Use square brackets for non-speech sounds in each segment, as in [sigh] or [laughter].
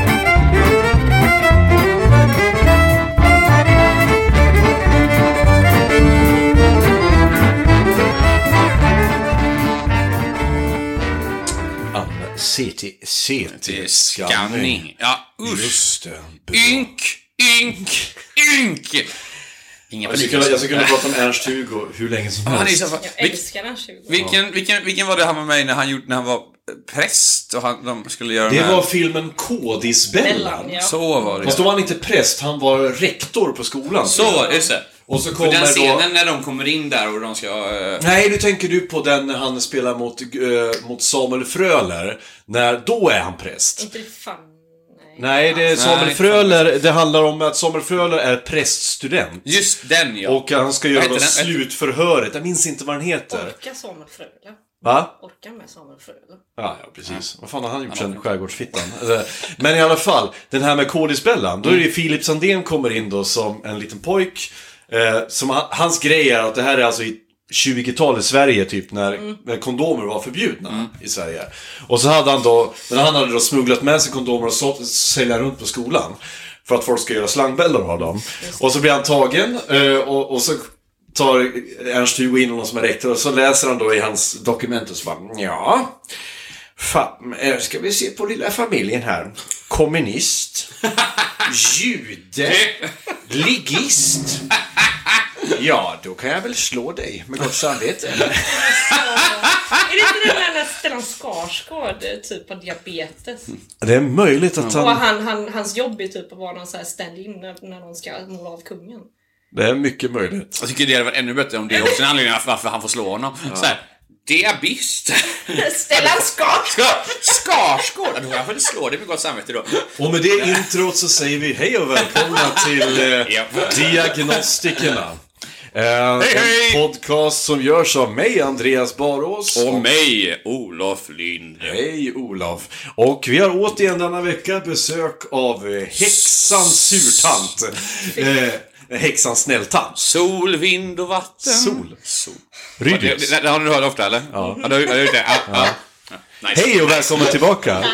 CT-skanning. CT-skanning. Ja, usch. Just det. Ynk, ynk, ynk. Inga Jag skulle, kunna, jag skulle kunna prata om Ernst-Hugo hur länge som Han är helst. så fan- Jag älskar den 20. vilken, vilken, vilken var det han var med i när han, gjorde, när han var eh, präst och han, de skulle göra Det den här- var filmen Kodisbellan. Bellan, ja. Så var det. Fast då var han inte präst, han var rektor på skolan. Så var det, just det. Och så För kommer den då... scenen när de kommer in där och de ska... eh, Nej, nu tänker du på den när han spelar mot, eh, mot Samuel Fröler. När, då är han präst. Inte det fan... Nej, Nej. det är Samuel Nej, Fröler. Det handlar om att Samuel Fröler är präststudent. Just den ja. Och han ska göra heter då den? slutförhöret. Jag minns inte vad den heter. Orka Samuel Frölund. Va? Orka med Samuel Frölund. Ja, ja precis. Vad fan har han gjort sen Skärgårdsfittan? Eller, Men i alla fall, den här med Kodisbellan. Då är det ju Filip Sandén kommer in då som en liten pojk. Eh, som, han- hans grej är att det här är alltså i 20-talet Sverige typ när, när kondomer var förbjudna i Sverige. Och så hade han då, men han hade då smugglat med sig kondomer och sålt, sälja runt på skolan. För att folk ska göra slangbällor av dem. Och så blir han tagen eh, och, och så tar Ernst-Hugo in honom som är rektor och så läser han då i hans dokument och så bara ja Fa- eh, ska vi se på lilla familjen här. Kommunist. Jude. Ligist. Ja, då kan jag väl slå dig med gott samvete. Är det inte den där när Stellan Skarsgård eh, typ har diabetes? Det är möjligt att Och han... han, han, hans jobb är typ att vara någon sån här stand-in när, när någon ska måla av kungen. [laughs] Det är mycket möjligt. Jag tycker det hade varit ännu bättre om det också är anledningen till varför han får slå honom. Så här, diabist. [laughs] Stellan Skarsgård! Ska- Skarsgård! Ja, Då får jag väl slå dig med gott samvete då. Och med det introt så säger vi hej och välkomna till eh, Ja. Diagnostikerna. Eh, hej! En podcast som görs av mig, Andreas Barås. Och mig, Olof Lind. Hej Olof! Och vi har återigen denna vecka besök av eh, häxan surtant. Eh, häxan snälltant. Sol, vind och vatten. Sol. Sol. Det, Rydius. det, det har du hört ofta eller? Ja. du har gjort det? Ja. ja. ja. Nice. Hej och välkommen tillbaka!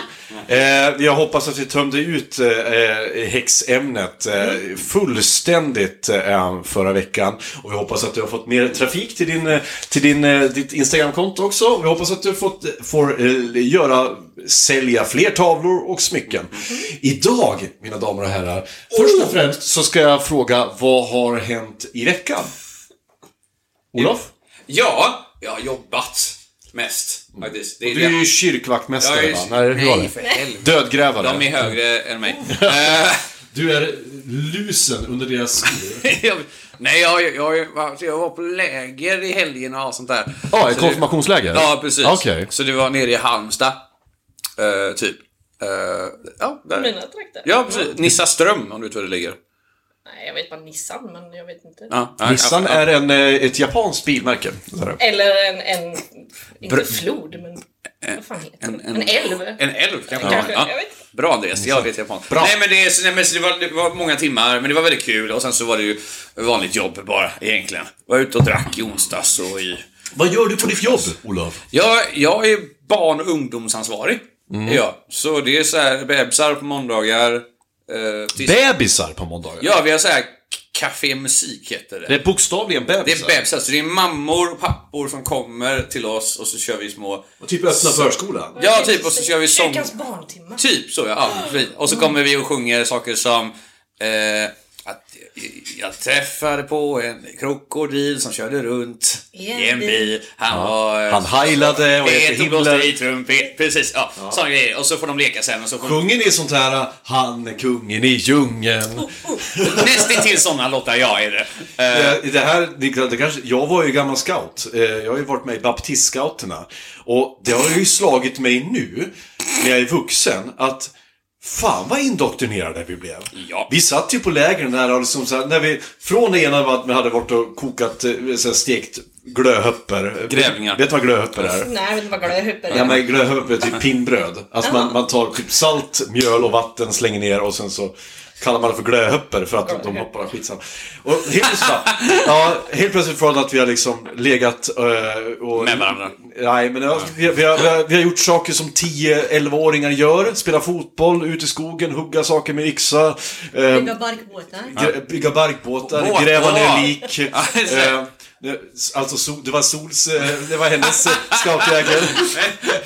Eh, jag hoppas att vi tömde ut eh, eh, häxämnet eh, fullständigt eh, förra veckan. Och vi hoppas att du har fått mer trafik till, din, eh, till din, eh, ditt Instagramkonto också. Vi hoppas att du fått, får eh, göra, sälja fler tavlor och smycken. Mhm. Idag, mina damer och herrar, först Oh! och främst så ska jag fråga vad har hänt i veckan? Olof? Ja, jag har jobbat mest faktiskt. Det är Du är det. ju kyrkvaktmästare Jag är- va? Nej, hur var Nej, det? för helvete. Dödgrävare. De är högre [laughs] än mig. Eh, Du är lusen under deras skor. jag- Nej, jag, jag, jag, var- jag var på läger i helgen och allt sånt där. Ja, ah, ett Så konfirmationsläger? det- Ja, precis. Okej. Så det var nere i Halmstad. eh, typ. Eh, ja, där. Mina trakter. Ja, precis. Nissaström, om du vet var det ligger. Nej, jag vet bara Nissan, men jag vet inte. Ja, ja, Nissan ja, är en, eh, ett japanskt bilmärke. Sådär. Eller en, en inte Br- flod, men vad fan heter En, det? En älv? En älv kanske. Kanske, Ja. jag vet inte. Bra Andreas, jag vet japan. Bra. Nej men, det, är- så- nej, men så det, var, det var många timmar, men det var väldigt kul och sen så var det ju vanligt jobb bara egentligen. Var ute och drack i onsdags och i... Vad gör du på ditt jobb, Olof? Jag, jag är barn och ungdomsansvarig. Ja, så det är så här bebisar på måndagar. Eh, tis- Bebisar på måndagar? ja, vi har så här k- Café Musik heter det. Det är bokstavligen bebisar. Det är bebisar, så det är mammor och pappor som kommer till oss och så kör vi små... Typ öppna förskolan. Ja, typ och så kör vi sång... Kyrkans barntimme. Typ så ja, ja precis. Och så kommer vi och sjunger saker som eh, att jag träffade på en krokodil som körde runt. i en by. Han var... Han heilade och Pet efter och blåste i Hitler. trumpet. Precis, ja. Sådana grejer. Och så får de leka sen och så får Kungen är sånt här, eh, han är kungen i djungeln. Nästintill sådana låtar jag är det. Eh, Eh, Det här, det, det kanske, jag var ju gammal scout. Eh, Jag har ju varit med i baptistscouterna. Och det har ju slagit mig nu, när jag är vuxen, att Fan vad indoktrinerade vi blev. Ja. Vi satt ju på lägren där och liksom så här, när vi, från det ena var att vi hade vaört och kokat, eh, så här, stekt glöhöpper. Grävlingar. Vet du vad glöhöpper är? Nej, jag vet inte vad glad jag är. Ja men glöhöpper är typ pinnbröd. Alltså man, man tar typ salt, mjöl och vatten, slänger ner och sen så kallar man det för glöhöpper för att de hoppar skitsamma. Och helt plötsligt, ja, helt plötsligt från att vi har liksom legat eh, och... Med varandra. Nej, men ja, vi, vi, har, vi, har, vi har gjort saker som 10-11-åringar gör. Spela fotboll, ut i skogen, hugga saker med yxa. eh, Bygga barkbåtar. Grä- Bygga barkbåtar, Båtar. gräva ner [laughs] lik. just det. Eh, det- Alltså, Sol- det var Sols, eh, det var hennes eh, scoutjägel.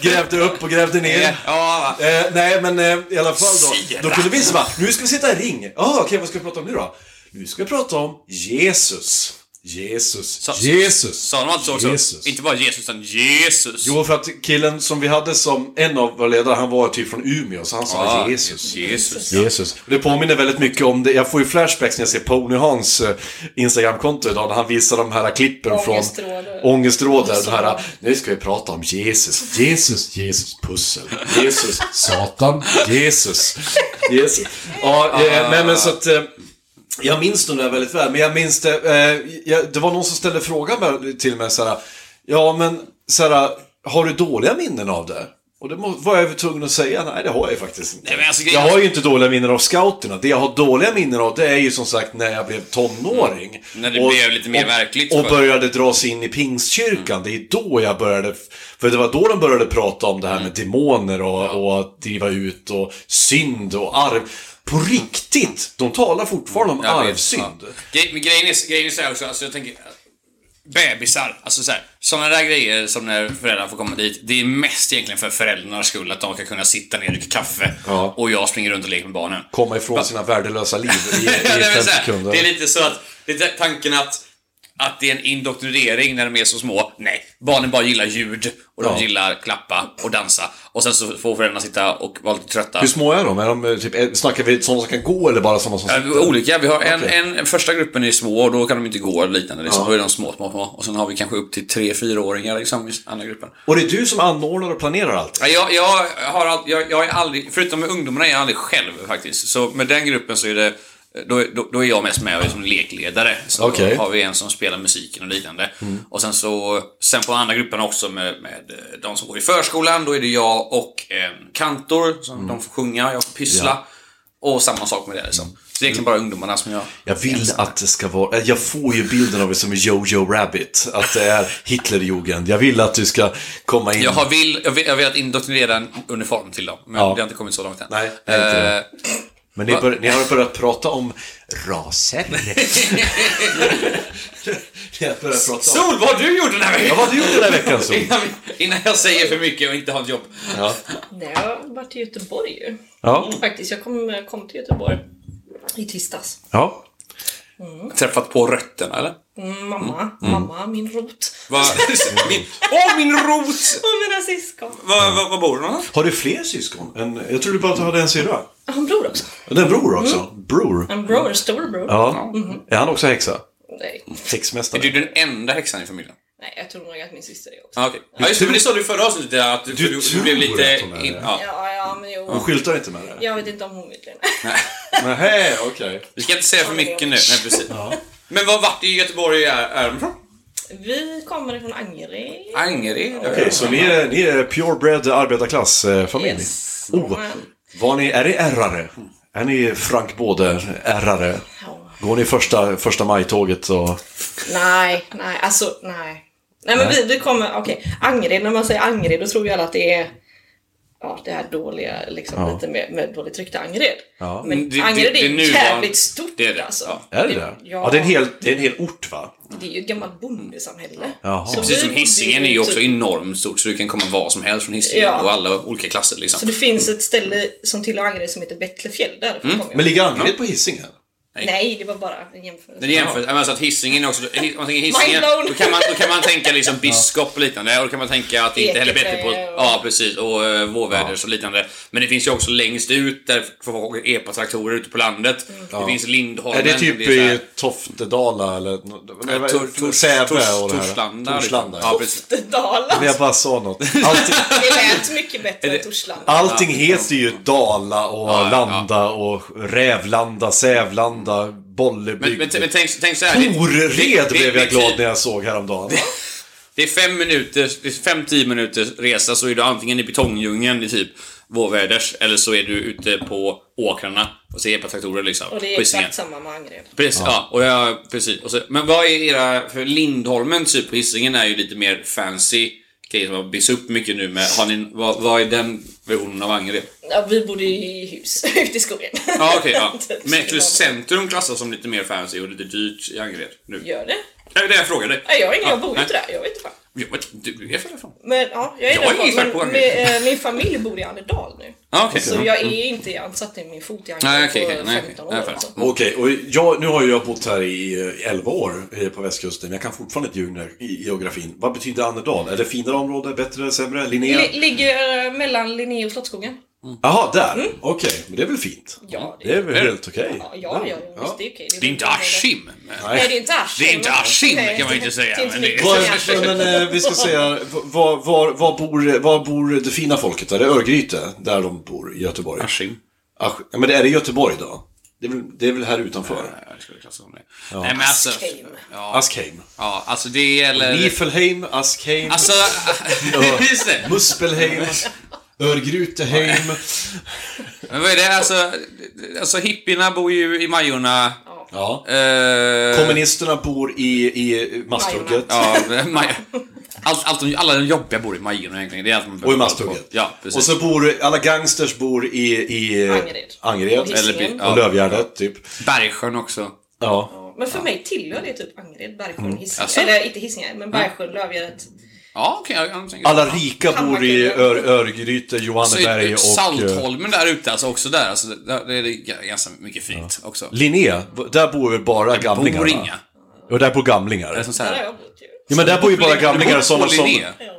Grävde upp och grävde ner. Ja, Eh, nej, men eh, i alla fall då. Sira. Då kunde vi så bara, nu ska vi sitta i ring. Ah, Okej, vad ska vi prata om nu då? Nu ska vi prata om Jesus. Jesus. Så- Jesus. sa de alltså också. Jesus. Inte bara Jesus, utan Jesus. Jo, för att killen som vi hade som en av våra ledare, han var typ från Umeå, så han sa Ja, Jesus. Jesus. Jesus. Det påminner väldigt mycket om det. Jag får ju flashbacks när jag ser Pony Hans eh, Instagramkonto idag när han visar de här klippen från Ångestrådar. ångestrådar. Det här, nu ska vi prata om Jesus. Jesus, Jesus, pussel. Jesus, Satan, Jesus. Jesus. Ja, eh, nej men så att... eh, Jag minns den där väldigt väl, men jag minns det, eh, jag, det var någon som ställde frågan med- till mig såhär, ja men såhär, har du dåliga minnen av det? Och det må- var jag väl tvungen att säga, nej det har jag ju faktiskt inte. Nej, men alltså, jag har ju inte dåliga minnen av scouterna, det jag har dåliga minnen av det är ju som sagt när jag blev tonåring. Mm. När det blev lite mer verkligt Och för- började dras in i pingstkyrkan, Mm. det är då jag började, för det var då de började prata om det här med Mm. demoner och, och att driva ut och synd och arv. På riktigt! De talar fortfarande om Jag vet, arvsynd. Mm. ja. Gre- Men grejen är, grejen är så här också, alltså jag tänker... Bebisar, alltså så här, sådana där grejer som när föräldrar får komma dit, det är mest egentligen för föräldrarnas skull, att de ska kunna sitta ner och dricka kaffe Ja. och jag springer runt och leker med barnen. Komma ifrån sina värdelösa liv [laughs] i, i Ja, det, fem är väl så här, sekunder. det är lite så att, lite tanken att, att det är en indoktrinering när de är så små. Nej, barnen bara gillar ljud och Ja. de gillar klappa och dansa. Och sen så får föräldrarna sitta och vara lite trötta. Hur små är de? Är de eh, typ, eh, snackar vi sådana som kan gå eller bara sådana som Ja, vi- Olika. Vi har en, Okej. en, en första gruppen är små och då kan de inte gå eller liknande. Liksom. Då är de små, små, små. Och sen har vi kanske upp till tre fyraåringar liksom, i andra gruppen. Och det är du som anordnar och planerar allt? Ja, Jag, jag, har all, jag, jag är aldrig, förutom med ungdomarna är jag aldrig själv faktiskt. Så med den gruppen så är det, då, då, då är jag mest med som lekledare. Så Okej. Mm. då har vi en som spelar musiken och liknande. Och sen så, sen på andra grupperna också med, med de som går i förskolan, då är det jag och eh, kantor, som Mm. de får sjunga, jag får pyssla. Och samma sak med det liksom. Så det är Mm. egentligen bara ungdomarna som jag... Jag vill att det ska vara... eh, Jag får ju bilden av det som Jojo Rabbit. Att det är Hitlerjugend. Jag vill att du ska komma in... Jag har, vill, jag vill, jag vill att indoktrinera en uniform till dem, men Ja. det har inte kommit så långt än. Nej, det är inte Eh, det. Men ni, bör, ni har börjat prata om [laughs] raser. ni har börjat prata om... Sol, vad har du gjort den här veckan? Ja, vad har du gjort den här veckan, Sol? [laughs] Innan, innan jag säger för mycket och inte har ett jobb. Ja. Nej, jag har varit i Göteborg ju. Ja. Faktiskt, jag kom, kom till Göteborg i tisdags. ja. Träffat på rötterna eller? Mamma, Mm. mamma, min rot. Va? [laughs] min, åh, min rot! Och mina syskon. Var, var, var bor du någonstans? Har du fler syskon? Än, jag trodde bara att du hade en syrra. Jag har en bror också. Och Den bror också. Mm. Bror. En bror, storbror. Ja. Är han också häxa? Nej. Är du Häxmästare. den enda häxan i familjen? Nej, jag tror nog att min syster är också. Ah, okay. Ja, just det, men det sa du i förra avsnittet att du, Du du, tror blev lite... att hon är in, det. ja. Ja, ja, men jo. Du skyltar inte med det? Jag vet inte om hon vill det. Nähä, okej. Vi ska inte säga för mycket nu. Nej, precis. Men var, vart i Göteborg är, är de från? Vi kommer från Angered. Angered? Okej, så ni är, ni är purebred arbetarklassfamilj? Yes. Oh, var ni, är ni ärrare? Är ni Frank Både ärrare? Ja. Går ni första, första maj-tåget och... Nej, nej, alltså nej. Nej men vi, vi kommer, okej. Angered, när man säger Angered då tror ju alla att det är Ja, det här dåliga, liksom lite med, med dåligt rykte Angered. Ja. Men Det- det- Angered det är nuvarande- jävligt stort det är det, alltså. ja. Är det det? Ja. Ja, det är en hel, det är en hel ort va? Det är ju ett gammalt bondesamhälle. Jaha. Så Precis vi som bodde Hisingen är ju också typ- enormt stort så du kan komma var som helst från Hisingen Ja. och alla olika klasser Så liksom. Mm. det finns ett ställe som tillhör Angered som heter Bettlefjäll. Där kommer jag. Men ligger Angered på Hisingen? Nej. Nej, det var bara en jämförelse. Den jämför, ja. men så att Hisingen är också, om man tänker Hisingen, Mind blown. då kan, man, då kan man tänka liksom biskop och liknande och då kan man tänka att det inte heller är bättre på... Eketrä och- Ja precis, och uh, vårväders och liknande. Men det finns ju också längst ut där folk är epatraktorer ute på landet. Mm. Det finns Lindholmen. Är det typ så här- i Toftedala eller... Nej, vad- Tor- Tor- Säve Tors- och det här. Torslanda. liksom. Torslanda, Ja, ja. precis. [laughs] Dala. Men jag bara sa något. [laughs] Allting, alltså. Det lät mycket bättre än Torslanda. allting heter ju Dala och Ja, ja, Landa och Rävlanda, Sävlanda, Men, Bollebygd. men, men tänk, tänk så här. det- det- Ored det- blev jag det- glad när jag såg häromdagen. Det är fem minuter, det är fem, tio minuters resa så är du antingen i betongdjungeln i typ vårväders eller så är du ute på åkrarna och ser epatraktorer liksom. Och det är på Hisingen. exakt samma med Angered. Precis, ja. och jag, precis. Och så, men vad är era... För Lindholmen typ på Hisingen är ju lite mer fancy grejer som har byggts upp mycket nu med... Har ni, vad, vad är den versionen av Angered? Ja, vi bodde ju i hus [laughs] ute i skogen. Ja, okej. ja. [laughs] Typ. Mäklös centrum klassas som lite mer fancy och lite dyrt i Angered nu. Gör det? Det är det jag frågade. Nej, jag, har ingen, jag Ja, bor ju nej. inte där. Jag vet inte fan. Jag vet inte, du är därifrån. Men ja, jag är Jag är därifrån, expert men på Angered. min, eh, min familj bor i Annedal nu. Ja, okej. Så jag är inte, jag har inte satt ner min fot i Angered Mm. Nej, okej, okej. på Nej, 15 okej. år. Nej, alltså. [laughs] Okej, och jag, nu har ju jag bott här i eh, 11 år eh, på västkusten, men jag kan fortfarande inte ljuga i i geografin. Vad betyder Annedal? Är det finare område, bättre, sämre? Linnea? Li- Ligger eh, mellan Linné och Slottsskogen. Jaha, där! Okej, men det är väl fint? Mm. Ja, det- det är väl helt okej? Ja, ja, ja, visst det är okej. Det är inte Askim. men- Nej, det är inte Askim. Det är inte Askim, Nej, kan man ju inte det- säga, Det är inte men det- mycket Var, som är Askim. men, eh, vi ska säga, var, var, var, bor, var bor det fina folket? Är det Örgryte? Där de bor, i Göteborg? Askim. Asch- ja, men är det Göteborg då? Det är väl, det är väl här utanför? Ja, jag skulle klassa om det. Nej, men alltså, Askim. ja, Askheim. ja, alltså det gäller... Nifelheim, Askheim, Alltså, [laughs] just det. [laughs] Muspelheim, Örgryteheim. Men vad är det? Alltså, alltså hippierna bor ju i Majorna. Ja. Eh, Kommunisterna bor i, i Masthugget. ja, [laughs] Maj- allt, allt de, alla de jobbiga bor i Majorna egentligen. Det är allt man Och i behöver kolla på. Masthugget. Ja, precis. och så bor alla gangsters bor i, i Angered. Angered. Hisingen. Eller, Eller, bi- Och ja, Lövgärdet, typ. Bergsjön också. Ja. Men för mig tillhör det typ Angered, Bergsjön, Hisingen. Alltså? Eller inte Hisingen, men Bergsjön, Lövgäret. Ja, okej. jag- jag tänker- Alla rika bor i Ör, Örgryte, Så är Johanneberg det och... eh, Saltholmen där ute, alltså också där. Alltså, där där är det g- ganska mycket fint också. Linné, där bor väl bara gamlingar? Bor va? inga. Och där bor gamlingar. Det är som så Där har här, jag bott ju. Ja, men där bor ju bara Du bor gamlingar på och sådana som... Linné. Ja,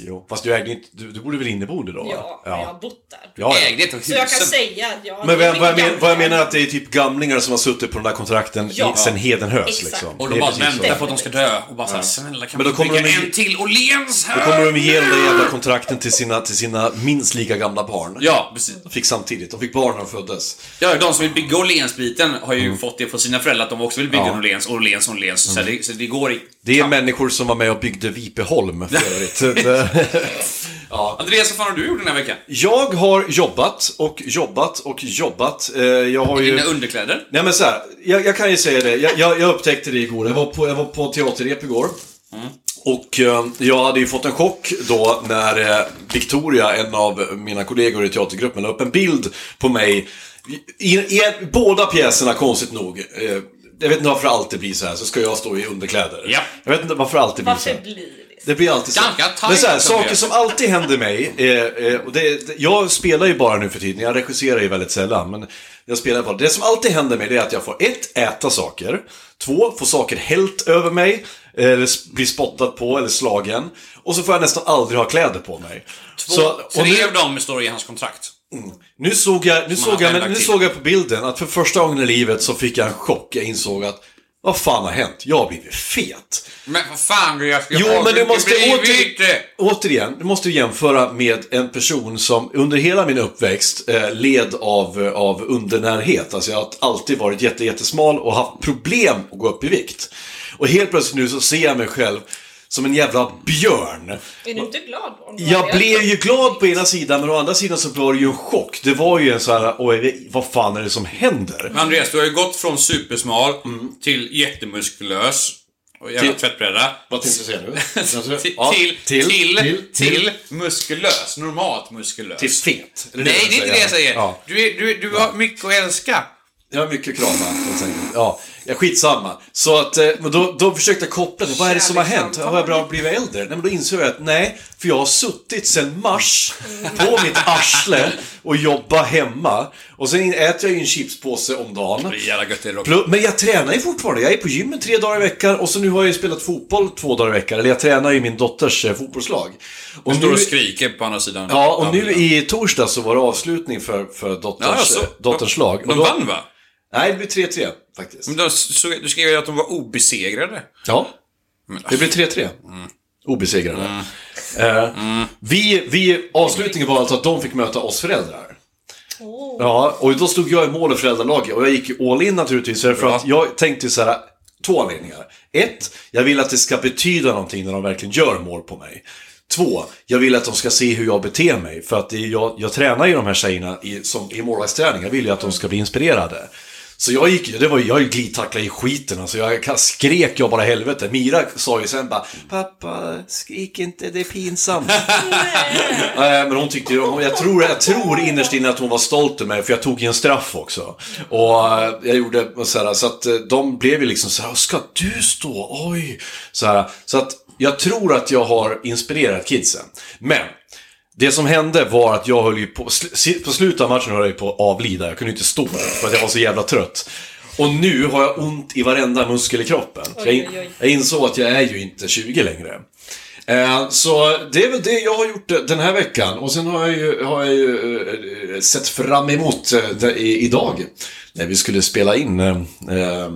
Jo, fast du ägde inte... Du, du borde väl inneboende då? va? ja, men jag har bott där. ja, ja. Ägde ett av Så jag kan husen. säga att jag... Men vad jag, det är vad, jag men, gamla- vad jag menar är att det är typ gamlingar som har suttit på den där kontrakten Ja. i, sen Hedenhös Exakt. liksom. Och Det de är bara precis så. väntar på att de ska dö och bara såhär, snälla kan Men då vi kommer bygga de ju- en till Åhléns Då här? kommer de ge den där jävla kontrakten till sina, till sina minst lika gamla barn. Ja, precis. De fick samtidigt, de fick barn när de föddes. Ja, de som vill bygga Åhlénsbiten har Mm. ju fått det från sina föräldrar att de också vill bygga en Åhléns, Åhléns, Åhléns. Så, det, så det går i... Det är människor som var med och byggde Vipeholm för övrigt. Det- Andreas, vad fan har du gjort den här veckan? jag har jobbat och jobbat och jobbat. Eh, Jag har ju... Dina underkläder? Nej men så här, jag, jag kan ju säga det. Jag, jag, jag upptäckte det igår. Jag var på, jag var på teaterrep igår. Och eh, jag hade ju fått en chock då när eh, Victoria, en av mina kollegor i teatergruppen, la upp en bild på mig. I, i, i båda pjäserna, konstigt nog. Eh, jag vet inte varför det alltid blir så här, så ska jag stå i underkläder. Ja. Jag vet inte varför det alltid blir så Varför här. blir det så? Det blir alltid så. Ganska tajt Men så här, som det är. saker som alltid händer mig. Eh, eh, och det, det, jag spelar ju bara nu för tiden, jag regisserar ju väldigt sällan. Men jag spelar bara. Det som alltid händer mig det är att jag får ett, äta saker. Två, få saker hällt över mig. eh, Eller s- bli spottad på eller slagen. Och så får jag nästan aldrig ha kläder på mig. Så- Så, och tre nu- av dem står i hans kontrakt. nu såg jag, nu såg har jag, men, lagt nu till. såg jag på bilden att för första gången i livet så fick jag en chock. Jag insåg att vad fan har hänt? Jag har blivit fet. Men vad fan, jag ska Jo, jag- men du jag måste blir åter- inte- Återigen, du måste ju jämföra med en person som under hela min uppväxt eh, led av, eh, av undernärhet. Alltså jag har alltid varit jätte, jättesmal och haft problem att gå upp i vikt. Och helt plötsligt nu så ser jag mig själv som en jävla björn. Är du inte glad? Om du har Jag det? blev ju glad på ena sidan, men å andra sidan så var det ju en chock. Det var ju en så här, oj, vad fan är det som händer? Men Andreas, du har ju gått från supersmal till jättemuskulös. Och jävla Mm. Till- tvättbräda. Vad tänkte du [laughs] säga nu? Till, Ja, till, till, till, till, till, muskulös. Normalt muskulös. till fet. Är du Nej, det är inte det jag säger. Ja. Du, är, du, du har mycket att älska. Jag har mycket kramar, helt enkelt. Ja, ja, skitsamma. Så att, eh, men då, då försökte jag koppla det. Vad är det som har hänt? Har jag bara blivit äldre? Nej, men då insåg jag att nej, För jag har suttit sedan mars på mitt arsle och jobbat hemma. Och sen äter jag ju en chipspåse om dagen. Det är jävla gött det dock. Plus- Men jag tränar ju fortfarande. Jag är på gymmet tre dagar i veckan och så nu har jag ju spelat fotboll två dagar i veckan. Eller jag tränar ju min dotters eh, fotbollslag. Och Du står nu- och skriker på andra sidan. Ja, och nu Ja, i torsdag så var det avslutning för, för dotters, ja, så, dotters lag. De, Och de då- vann va? Nej, det blev 3-3 faktiskt. Men de, så, du skrev ju att de var obesegrade. Ja, det blev 3-3. Obesegrade. Eh, Vi, vi, avslutningen var alltså att de fick möta oss föräldrar. Ja, och då stod jag i mål i föräldralaget och jag gick ju all in naturligtvis. För att jag tänkte så här, två anledningar. Ett, jag vill att det ska betyda någonting när de verkligen gör mål på mig. Två, jag vill att de ska se hur jag beter mig. För att det är, jag, jag tränar ju de här tjejerna i, som, i målvaktsträning. Jag vill ju att de ska bli inspirerade. Så jag gick ju- det var ju- jag glidtacklade i skiten alltså. Jag ka- skrek jag bara helvete. Mira sa ju sen bara Pappa, skrik inte, det är pinsamt. Nej, Eh, men hon tyckte ju, hon- jag tror, jag tror innerst inne att hon var stolt över mig, för jag tog ju en straff också. Och eh, jag gjorde så här, så att eh, de blev ju liksom så här, ska du stå? Oj! Så här, så att jag tror att jag har inspirerat kidsen. Men, det som hände var att jag höll ju på, sl- på slutet av matchen höll jag ju på att avlida, jag kunde inte stå för att jag var så jävla trött. Och nu har jag ont i varenda muskel i kroppen. Jag, in, Oj, oj, oj. jag insåg att jag är ju inte 20 längre. Eh, Så det är väl det jag har gjort eh, den här veckan. Och sen har jag ju, har jag ju eh, sett fram emot eh, det, i, idag. När vi skulle spela in eh, eh,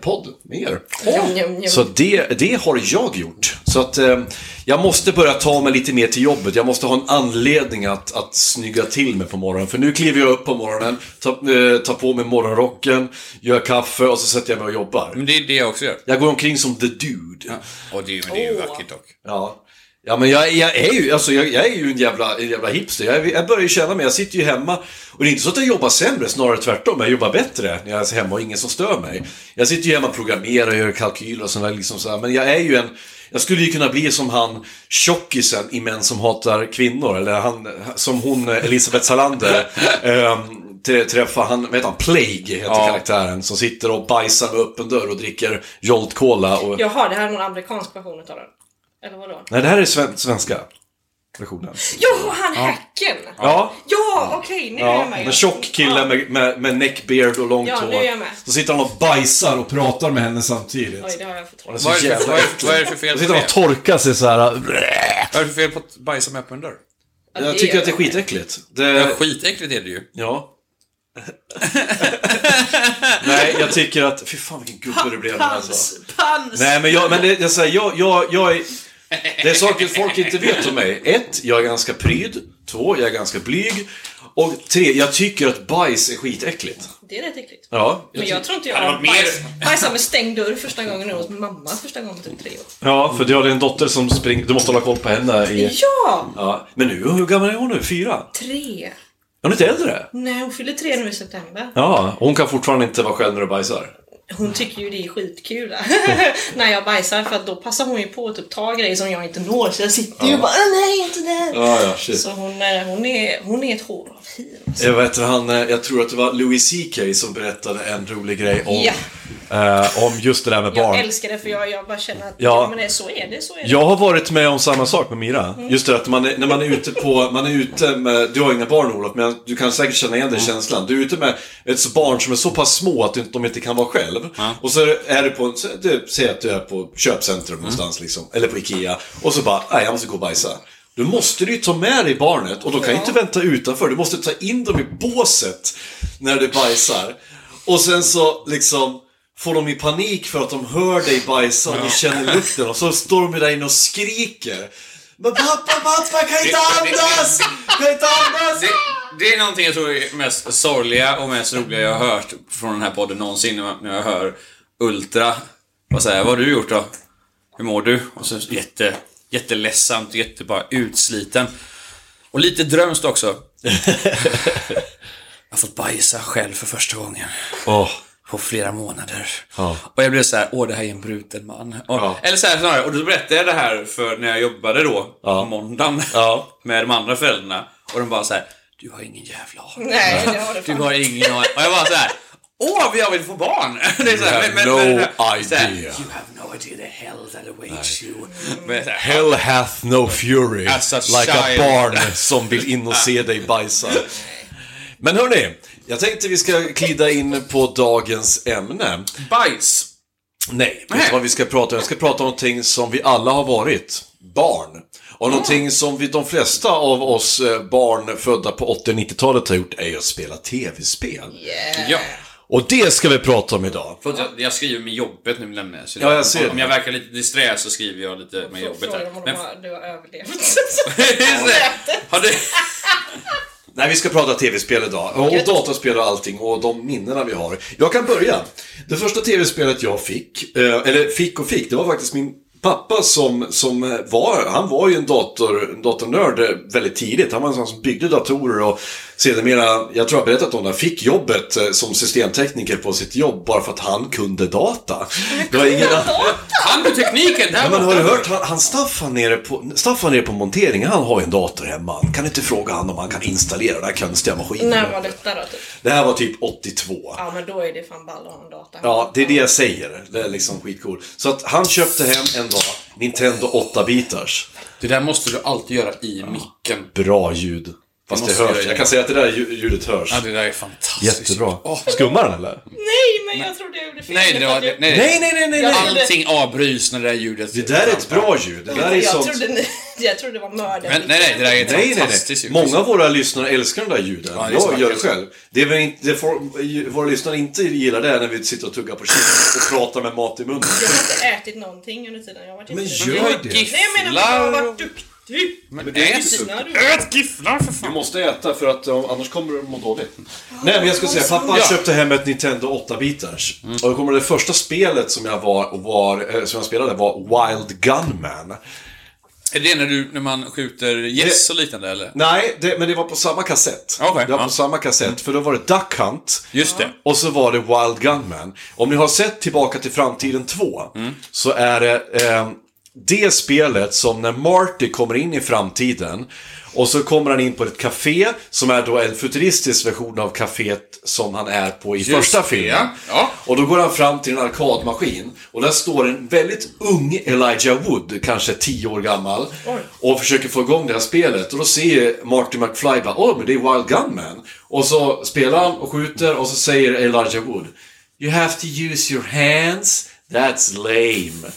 podd med er. Njum, njum, njum. Så det, det har jag gjort. Så att eh, jag måste börja ta mig lite mer till jobbet. Jag måste ha en anledning att, att snygga till mig på morgonen. För nu kliver jag upp på morgonen, tar, eh, tar på mig morgonrocken, gör kaffe och så sätter jag mig och jobbar. Mm. Men det är det jag också gör. Jag går omkring som the dude. Och det, men det är ju Åh. vackert dock. Ja. Ja men jag, jag är ju, alltså jag, jag är ju en jävla, en jävla hipster. Jag, jag börjar ju känna mig, jag sitter ju hemma. Och det är inte så att jag jobbar sämre, snarare tvärtom. Jag jobbar bättre när jag är hemma och ingen som stör mig. Jag sitter ju hemma och programmerar och gör kalkyler och sådär liksom så här. Men jag är ju en, jag skulle ju kunna bli som han tjockisen i Män som hatar kvinnor. Eller han, som hon eh, Elisabeth Salander ehm, trä- träffar, han, vad heter han, Plague heter Ja. karaktären. Som sitter och bajsar med öppen dörr och dricker Jolt Cola. Och... Jaha, det här är någon amerikansk version utav den. Eller vadå? Nej, det här är sven- svenska versionen. Jo, han hacken! Ja, Ja, okej, nu är ja jag med. en tjock kille Ja. med, med, med neckbeard och långt Ja, nu hår. är jag med. Så sitter han och bajsar och pratar med henne samtidigt. Oj, det har jag fått Han är tro. så Vad är, det för, jävla vad, är, äcklig. vad är det för fel Han på sitter och det? torkar sig så här. Vad är det för fel på att bajsa med öppen dörr? Jag tycker att det är skitäckligt. Ja, Det, skitäckligt är det ju. [laughs] ja. Nej, jag tycker att... Fy fan vilken gubbe du blev nu alltså. Pans! Pans! Nej, men jag... Men det, jag, säger, jag, jag, jag är... Det är saker folk inte vet om mig. Ett, jag är ganska pryd. Två, jag är ganska blyg. Och tre, jag tycker att bajs är skitäckligt. Det är rätt äckligt. Ja. Men jag tror inte Hade jag varit mer- bajs- bajsade med stängd dörr första gången hos mamma första gången på typ tre år. Ja, för du har en dotter som springer. Du måste hålla koll på henne. I... Ja! Ja. Men nu, hur gammal är hon nu? Fyra? Tre. Hon är inte äldre? Nej, hon fyller tre nu i september. Ja, hon kan fortfarande inte vara själv när du bajsar. Hon tycker ju det är skitkul [laughs] när jag bajsar för att då passar hon ju på att typ ta grejer som jag inte når så jag sitter ju och bara "Åh, nej inte där. Ja, ja, shit. Så hon, eh, hon, är, hon är ett hår av fin. alltså. Jag, vet, han, eh, jag tror att det var Louis CK som berättade en rolig grej om, Ja. eh, om just det där med barn. Jag älskar det för jag, jag bara känner att Ja. ja. men det, så är det, så är det. Jag har varit med om samma sak med Mira. Just det att man är, när man är ute på, man är ute med, du har inga barn Olof, men du kan säkert känna igen den känslan. Du är ute med ett barn som är så pass små att de inte kan vara själv. Och så är du på, en- så- du, säg att du är på köpcentrum någonstans liksom, eller på Ikea. Och så bara, nej jag måste gå och bajsa. Då måste du ju ta med dig barnet och de kan ju inte vänta utanför. Du måste ta in dem i båset när du bajsar. Och sen så liksom får de i panik för att de hör dig bajsa och de känner lukten och så står de där inne och skriker. Men pappa, pappa, jag kan inte Det- det- andas! Jag kan inte andas! Det, det är någonting jag tror är mest sorgliga och mest roliga jag har hört från den här podden någonsin. När jag- när jag hör Ultra. Vad säger Vad har du gjort då? Hur mår du? Och så jätte, jätteledsamt, jättebara utsliten. Och lite drömskt också. jag har fått bajsa själv för första gången Åh, på flera månader. Ja. Och jag blev så här, åh det här är en bruten man. Och, Ja. Eller så här snarare, och då berättade jag det här för när jag jobbade då, på måndagen, Ja. [laughs] med de andra föräldrarna. Och de bara så här, du har ingen jävla aning. Nej, det har [laughs] du Du fan. har ingen aning. Och jag bara så här, åh jag vill få barn! [laughs] Det är så här, You have no så här, idea. you have no Wordy the hell that awaits you. Hell hath no fury, As a like a child. barn som vill in och se dig bajsa. Men hörni, jag tänkte vi ska glida in på dagens ämne. Bajs. Nej, vet du vad vi ska prata om? Jag ska prata om någonting som vi alla har varit. Barn. Och någonting som vi, de flesta av oss eh, barn födda på 80 och 90-talet har gjort är ju att spela tv-spel. Ja. Och det ska vi prata om idag. Förlåt, jag, jag skriver med jobbet nu nämligen. jag. Så Ja, jag ser om det. jag verkar lite disträ så skriver jag lite med jobbet Frågar här. om Men, [laughs] de har, du har överlevt. [laughs] har du... Nej, vi ska prata tv-spel idag. Och dataspel och allting och de minnena vi har. Jag kan börja. Det första tv-spelet jag fick, eh, eller fick och fick, det var faktiskt min pappa som, som eh, var, han var ju en dator, datornörd eh, väldigt tidigt. Han var en sån som byggde datorer och sedermera, jag tror jag har berättat om det, fick jobbet eh, som systemtekniker på sitt jobb bara för att han kunde data. Det var ingen annan- Han med tekniken! Där Ja, men borta. har du hört? Han, han Staffan, nere på, Staffan nere på monteringen, han har ju en dator hemma. Kan du inte fråga han om han kan installera den här konstiga maskinen? När var detta då? Typ? Det här var typ 82. Ja men då är det fan ball att ha en data. Ja, det är det jag säger. Det är liksom skitcool. Så att han köpte hem en dag Nintendo 8-bitars. Det där måste du alltid göra i micken. Bra ljud. Fast Det det måste hörs. jag Jag kan säga att det där lju- ljudet hörs. Ja, det där är fantastiskt. Jättebra. Åh. Skummar den eller? Nej men jag trodde jag gjorde fel. Nej, det var, Jag- nej, nej. Nej, nej, nej, nej, nej. Allting avbryts när det där ljudet... Det där är ett bra ljud. Det där är jag, sånt... trodde ni, [laughs] jag trodde det var mördaren. Men, nej, nej, det där är ett Nej, nej, fantastiskt nej. ljud. Många av våra lyssnare älskar de där ljuden. Ja, det är så jag gör det vackert. själv. Det är väl inte, det får, våra lyssnare inte gillar det är när vi sitter och tuggar på chips och pratar med mat i munnen. Jag har inte ätit någonting under tiden. Jag har varit Men jätte- gör- Vi har det. Nej jag menar att jag har gifflar varit och... duktig. Men det är ät- inte När du- Ät gifflar för Du fan! måste äta för att eh, annars kommer du må dåligt. Nej men jag skulle säga, pappa Ja. köpte hem ett Nintendo 8-bitars. Och då kommer det första spelet som jag, var, och var, eh, som jag spelade var Wild Gunman. Är det när, du, när man skjuter gäss och liknande eller? Nej, det, men det var på samma kassett. Okej, det var ja. på samma kassett, för då var det Duck Hunt. Just det. Och så var det Wild Gunman. Om ni har sett Tillbaka till framtiden 2 Mm. så är det eh, det spelet som när Marty kommer in i framtiden och så kommer han in på ett café som är då en futuristisk version av caféet som han är på i första det, filmen. ja. Ja. Och då går han fram till en arkadmaskin och där står en väldigt ung Elijah Wood, kanske 10 år gammal, och försöker få igång det här spelet. Och då ser Marty McFly bara åh, men det är Wild Gunman. Och så spelar han och skjuter och så säger Elijah Wood You have to use your hands, that's lame.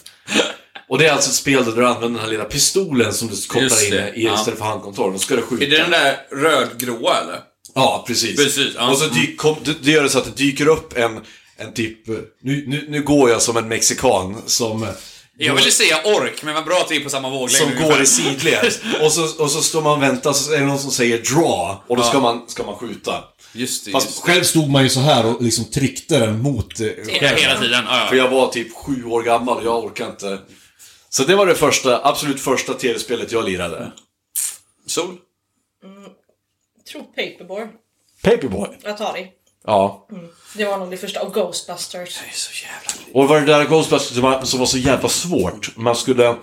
Och det är alltså ett spel där du använder den här lilla pistolen som du kopplar Just in det, i ja. istället för handkontrollen. Då ska du skjuta. Är det den där rödgråa eller? Ja, precis. Precis, ja. Och så dyk, kom, det, det gör det så att det dyker upp en, en typ... eh, Nu, nu, nu går jag som en mexikan som... eh, Jag ville säga ork, men vad bra att vi är på samma våglängd Som ungefär. går i sidled. Och så, och så står man och väntar, så är det någon som säger draw. Och då ska, man, ska man skjuta. Just det, Fast just själv stod man ju så här och liksom tryckte den mot eh, det. Hela, hela skärmen. tiden. Ja, För ja. jag var typ sju år gammal och jag orkade inte. Så det var det första, absolut första tv-spelet jag lirade. Sol? Jag tror Paperboy. Paperboy. Atari. Ja. Det var nog det första. Och Ghostbusters. Det är så jävla Och var det där Ghostbusters som var- som var så jävla svårt. Man skulle...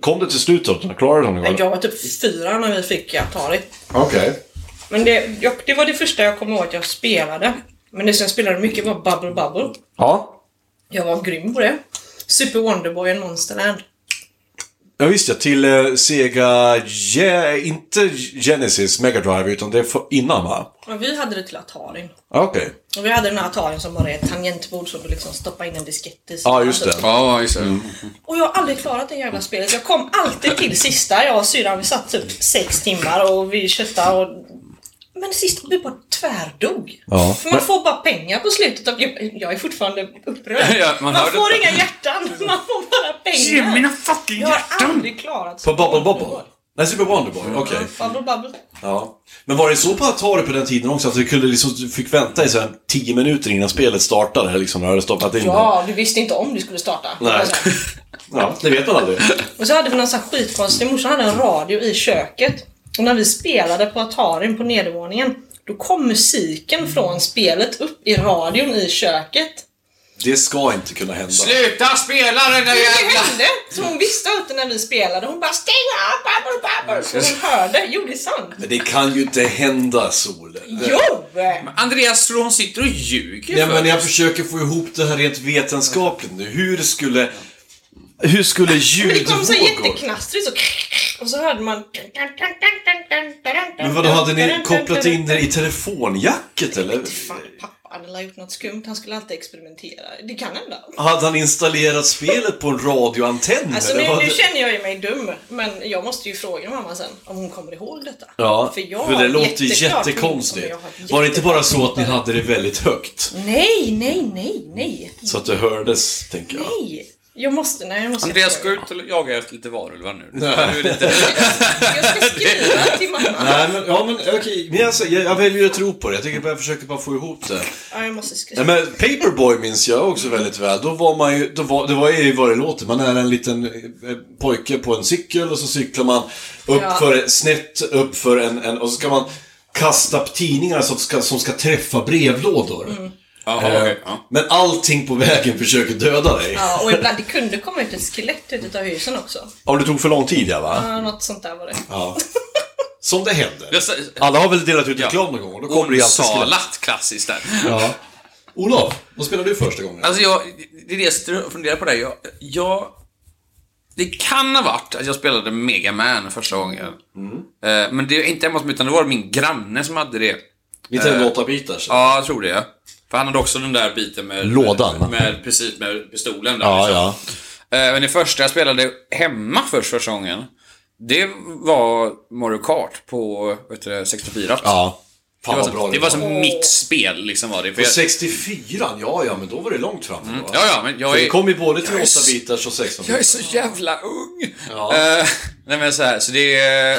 Kom det till slutet? då? Klarade de Men det? jag var typ fyra när vi fick Atari. Okej. Men det, jag, det var det första jag kommer ihåg att jag spelade. Men det som jag spelade mycket var Bubble Bubble. Ja. Jag var grym på det. Super Wonderboy och Monsterland. Ja visst ja, till eh, Sega... Ge- inte Genesis Mega Drive utan det är för, innan va? Men vi hade det till Atarin. Okej. Och vi hade den här Atarin som bara är ett tangentbord som du liksom stoppar in en diskett i. typ Ja, just det. Ja, just det. Och jag har aldrig klarat det jävla spelet. Jag kom alltid till sista. Jag och syrran vi satt typ sex timmar och vi köttade och... Men sist vi bara tvärdog. Ja. För man får bara pengar på slutet av... Jag är fortfarande upprörd. Ja, man man hör det. får inga hjärtan, man får bara pengar. fucking jag har aldrig klarat På Bubble Bobble? Nej, Super Wonderboy. Okej. Bubble Bubble. Ja. Men var det så på Atari på den tiden också att du kunde liksom, du fick vänta i så här 10 minuter innan spelet startade? Liksom, när du hade stoppat in det? Ja, du visste inte om du skulle starta. Alltså. Nej. [laughs] ja, det vet man aldrig. Och så hade vi någon sån här skitkonstig, morsan hade en radio i köket. Och när vi spelade på Atarin på nedervåningen, då kom musiken från spelet upp i radion i köket. Det ska inte kunna hända. Sluta spela den där Det jävla... hände! Så hon visste alltid när vi spelade, hon bara stäng av babbel babbel! Så hon hörde, jo det är sant. Men det kan ju inte hända, Sol. Jo! Andreas tror hon sitter och ljuger Nej, för men jag oss. försöker få ihop det här rent vetenskapligt nu. Hur skulle... Hur skulle Men det kom så ljudvågor... jätteknastrigt så och så hörde man... Men vadå, hade ni kopplat in det i telefonjacket eller? Fan, pappa hade la gjort något skumt, han skulle alltid experimentera. Det kan hända. Hade han installerat spelet på en radioantenn? Alltså eller nu, vad nu det- känner jag ju mig dum, men jag måste ju fråga mamma sen om hon kommer ihåg detta. Ja, för, jag har det låter ju jätteklart jättekonstigt. minne om jag har Var det inte bara så att ni jätteklart hade det väldigt högt? minne. Nej, nej, nej, nej, Så att det hördes, tänker jag. nej. Jag måste, nej jag måste Andreas, gå fråga. ut och jaga efter lite varulvar nu. Nu är det lite- Jag ska skriva till mamma. Nej, men, ja, men okej. Men alltså, jag, jag väljer att tro på det. Jag tänker bara, jag försöker bara få ihop det. Ja, jag måste Nej, skriva. men Paperboy minns jag också väldigt väl. Då var man ju, då var, det var ju vad det låter. Man är en liten eh, pojke på en cykel och så cyklar man upp Ja. för, snett upp för en, en, och så ska man kasta upp tidningar som ska, som ska träffa brevlådor. Mm. Jaha, Eh, okej, ja. Men allting på vägen försöker döda dig. Ja, och ibland, det kunde komma ut ett skelett ut utav husen också. Om det tog för lång tid, ja va? Ja, något sånt där var det. Ja. Som det händer. Jag sa- Alla har väl delat ut Ja. reklam någon gång? och Då kommer det ju alltid skelett. Onsalat, klassiskt där. Ja. Äh, Olof, vad spelade du första gången? Alltså jag, det är det jag stru- funderar på där. Jag, jag, det kan ha varit att jag spelade Mega Man första gången. Eh, Men det är inte hemma hos mig, utan det var min granne som hade det. Nintendo 8-bitars? Ja, jag tror det. För han hade också den där biten med... Lådan, va? Med, med, precis, med pistolen där. ja, liksom. ja. Eh, Men det första jag spelade hemma först första gången, det var Mario Kart på vet du, det, 64. ja. Det Fan var, vad bra som, det var var. som mitt spel liksom var det. För På jag, 64 ja ja, men då var det långt fram mm. ja, ja, men jag Det är, kom ju både till Jag är 8-bitars och 16 jag är så jävla ung! Ja. Eh, nej men så här, så det är... eh,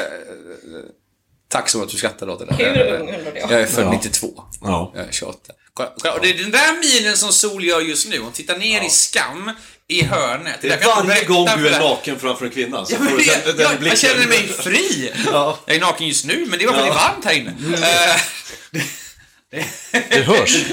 Tack så mycket att du skrattade åt det där. Hur ung undrar jag? Jag är född Ja. 92. Ja. Jag är 28. Kolla, kolla, och det är den där minen som Sol gör just nu. Hon tittar ner i skam i hörnet. Det Jag är kan inte varje berätta gång du för är dig. naken framför en kvinna så Ja, men får du det, den, den jag, blicken. jag känner mig fri! Ja. Jag är naken just nu, men det var för att det är varmt här inne. Eh, Det hörs.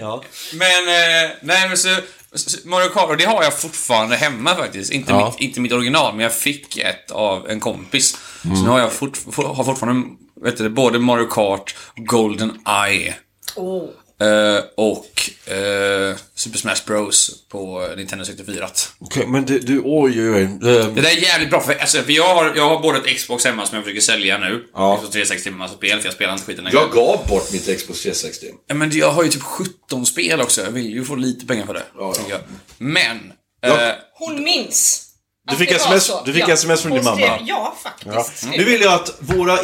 Ja. [laughs] men, eh, nej men så, så- Mario Kart, och det har jag fortfarande hemma faktiskt. Inte, Ja. mitt, inte mitt original, men jag fick ett av en kompis. Så nu har jag fort, for, har fortfarande, vet du, det, både Mario Kart, Golden Eye Oh. eh, och eh, Super Smash Bros på Nintendo 64. Okej, men du, du oj, Ehm, oj, oj. Det där är jävligt bra, för, alltså, för jag, har, jag har både ett Xbox hemma som jag försöker sälja nu. Ja. Xbox 360 med massa spel, för jag spelar inte skiten längre. Jag gav bort mitt Xbox 360. Ja, Men jag har ju typ 17 spel också. Jag vill ju få lite pengar för det. Ja, ja. tänker jag. Men... Ja. Eh, Hon minns. Du att fick det var SMS så. du fick SMS från Hon din skrev- mamma. Ja, faktiskt. Nu vill jag att våra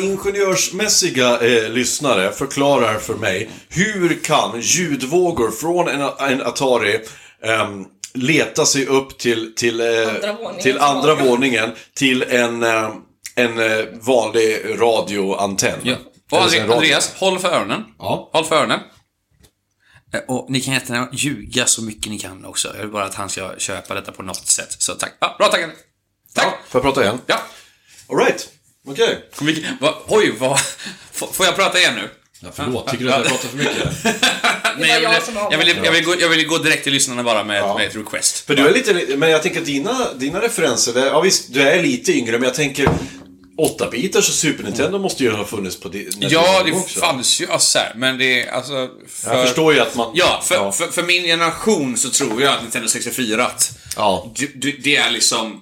ingenjörsmässiga eh, lyssnare förklarar för mig hur kan ljudvågor från en, en Atari ehm, leta sig upp till, till, eh, Andra våningen. till andra våningen till en, eh, en eh, vanlig radioantenn? ja. Och Eller en Andreas, radio. Andreas, håll för öronen. Ja. Håll för öronen. Eh, Och ni kan jättegärna ljuga så mycket ni kan också. Jag vill bara att han ska köpa detta på något sätt. Så tack. Ja, bra, tack. Tack! Ja, får jag prata igen? Ja. Alright, okej. Vilken- vad- oj, vad... Får får jag prata igen nu? Ja, förlåt, tycker du att jag pratar för mycket? Nej, var jag jag ville- som avbröt. jag ville- jag ville gå- Jag ville gå direkt till lyssnarna bara med, med ett request. För du är lite, men jag tänker att dina, dina referenser, det- ja visst, du är lite yngre, men jag tänker 8-bitars och Super Nintendo måste ju ha funnits på det. när du Mm. Ja, var det ung också. fanns ju assär, men det är alltså... För, Jag förstår ju att man... Ja, för, ja. För, för min generation så tror jag att Nintendo 64 att Ja. du, du, det är liksom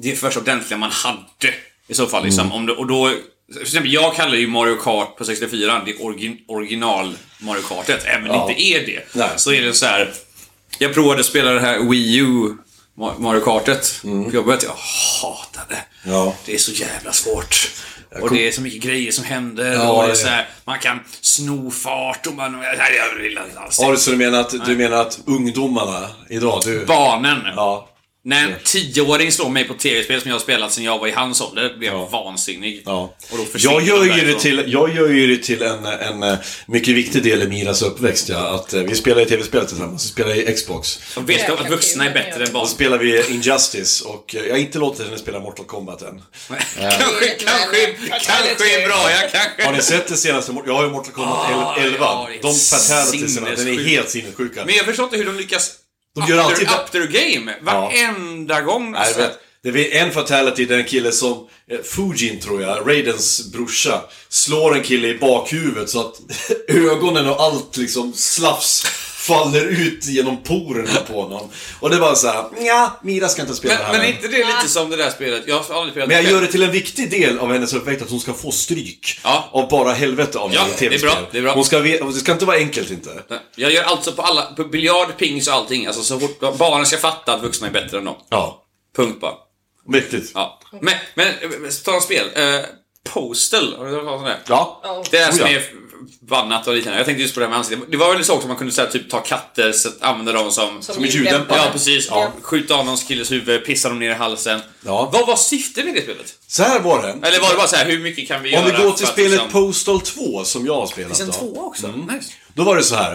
det är första ordentliga man hade. I så fall Mm. liksom. Om det, och då, för exempel, jag kallar ju Mario Kart på 64 det orgi, original Mario Kartet, även om det inte är det. Nej. Så är det så här. Jag provade att spela det här Wii U Ma- Mario Kartet på jobbet. Jag hatar det. Mm. Ja. Det är så jävla svårt. Och det är så mycket grejer som händer. Ja, och det är det- så här, Eh, man kan sno fart och man... Nej, jag vill inte alls. Har du så du menar att, du menar att ungdomarna idag, du... Barnen. Ja. När en tioåring slår mig på tv-spel som jag har spelat sedan jag var i hans ålder blir jag vansinnig. Ja. Och då försvinner Jag gör, de ju det därifrån. till, jag gör ju det till en, en eh, mycket viktig del i Miras uppväxt, ja. Att eh, vi spelar i tv-spel tillsammans, vi spelar i Xbox. De vet att vuxna är bättre än barn. Och så spelar vi Injustice och eh, jag har inte låtit henne spela Mortal Kombat än. [laughs] kanske, kanske, kanske är bra. Jag Har kanske... ni sett det senaste? Mor- Jag har ju Mortal Kombat Ah, 11. ja, det är De fatalities, den är sinnessjukt. helt sinnessjuka. Men jag förstår inte hur de lyckas De gör Up to- alltid... Up to the game! Varenda gång. Nej, Alltså. jag vet. Det är en fatality där en kille som, eh, Fujin tror jag, Raidens brorsa, slår en kille i bakhuvudet så att [laughs] ögonen och allt liksom slafs faller ut genom porerna på honom. Och det är bara såhär, ja, Mira ska inte spela det Men, här. men är längre." inte det lite som det där spelet? Jag har aldrig spelat Men jag själv. gör det till en viktig del av hennes uppväxt att hon ska få stryk Ja. av bara helvete av Ja, något det är bra, TV-spel. det är bra. Hon ska, ve- det ska inte vara enkelt inte. Jag gör alltså på alla, på biljard, pings och allting. Alltså så fort barnen ska fatta att vuxna är bättre än dem. Ja, Punkt bara. viktigt. Ja. Men, men eh, ta en spel. Eh, Postal, har du hört talas om det? Ja. Det är det Oh, som ja. är bannat och liknande. Jag tänkte just på det här med ansiktet. Det var väl så också man kunde säga typ ta katter, så att använda dem som... Som en ljuddämpare. Ja, precis. Ja. Skjuta av någons killes huvud, pissa dem ner i halsen. Ja. Vad var syftet med det spelet? Så här var det. Eller var det bara så här, hur mycket kan vi Om vi göra? går till för att spelet liksom- Mm. Postal 2 som jag har spelat Finns en då. tvåa också? Nice. Då var det så här.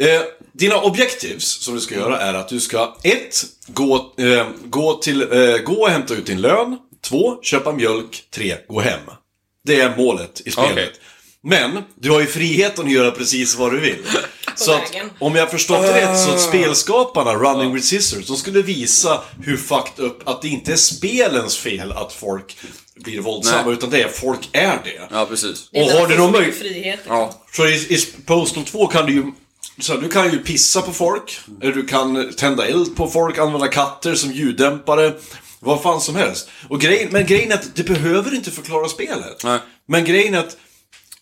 Eh, dina objectives som du ska göra är att du ska 1. Gå, eh, gå, till, eh, gå och hämta ut din lön. 2. Köpa mjölk. 3. Gå hem. Det är målet i spelet. Okej. Men du har ju friheten att göra precis vad du [laughs] vill. Så att, vägen. om jag har förstått det rätt så att spelskaparna, Running with Scissors, de skulle visa hur fucked up, att det inte är spelens fel att folk blir våldsamma, Nej. utan det är folk är det. Ja, precis. Och har du någon möjlighet? möjlighet... frihet. Ja. Så i, i Postal 2 kan du ju... Så här, du kan ju pissa på folk, eller du kan eh, tända eld på folk, använda katter som ljuddämpare. Vad fan som helst. Och grejen, men grejen är att det behöver inte förklara spelet. Nej. Men grejen är att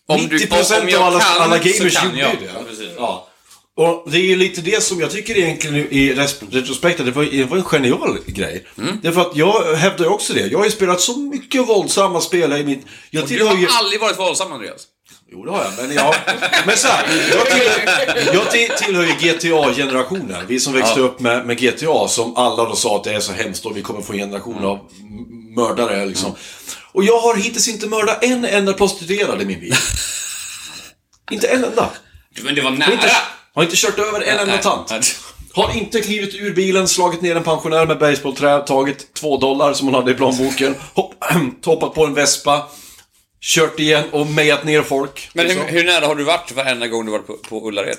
90% om jag av alla, kan, alla så gamers kan gjorde ju jag. det. Ja, precis. Ja. Och det är ju lite det som jag tycker egentligen i res- retrospekt, att det var, det var en genial grej. Mm. Därför att jag hävdar ju också det. Jag har ju spelat så mycket våldsamma spel i mitt... Jag Du tillhör ju... har aldrig varit våldsam, Andreas. Jo, det har jag. Men, jag, men så här, jag tillhör, jag till- tillhör ju GTA-generationen. Vi som växte upp med, med GTA, som alla då sa att det är så hemskt och vi kommer få en generation av m- mördare. Liksom. Mm. Och jag har hittills inte mördat en enda prostituerad i min bil. inte en enda. Du, Men det var Har inte, nära. har inte kört över en enda Nej. tant. Har inte klivit ur bilen, slagit ner en pensionär med basebollträ, tagit två dollar som hon hade i plånboken, hopp, [clears throat] hoppat på en vespa, kört igen och mejat ner folk. Men liksom. hur, hur nära har du varit varenda gång du varit på, på Ullared?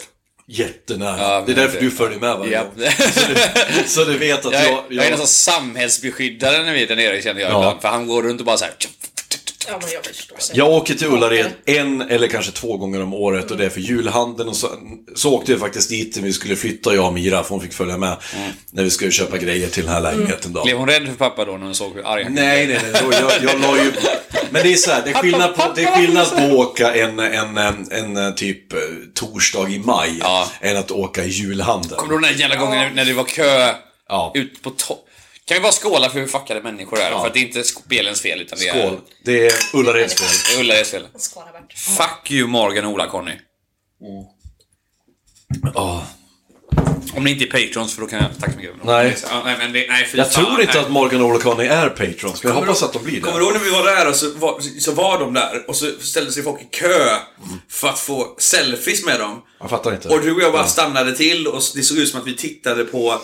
Jättenära. Ja, det är men därför det- du följer med varje Ja. gång. Så du, så du vet att Jag, jag... är- jag är nästan samhällsbeskyddare när vi är där nere känner jag Ja. ibland. För han går runt och bara så här. Ja, men jag förstår. det. jag åker till Ullared en eller kanske två gånger om året och det är för julhandeln. Och så, så åkte jag faktiskt dit när vi skulle flytta, jag och Mira, för hon fick följa med. Mm. När vi skulle köpa grejer till den här lägenheten då. Blev hon rädd för pappa då när hon såg hur arg han Nej, nej, nej. Då, jag, jag la ju... Men det är så här, det är skillnad på, det är skillnad på att åka en, en, en, en typ eh, torsdag i maj Ja. än att åka i julhandeln. Kommer du ihåg den där jävla gången när det var kö Ja. ut på to- Kan vi bara skåla för hur fuckade människor är? För att det är inte spelens fel utan det är, Skål. Det är Ullareds fel. det är Ullareds fel. Skåla bort. Fuck you Morgan och Ola-Conny. Mm. Ja. Om ni inte är patrons för då kan jag... Tack så mycket. Nej. Ja, nej, men det, nej fy Jag fan, tror inte nej. att Morgan och Ola-Conny är patrons, men jag hoppas att de blir Kommer det. du ihåg när vi var där och så var, så var de där och så ställde sig folk i kö för att få selfies med dem. Jag fattar inte. Och du och jag bara stannade till och det såg ut som att vi tittade på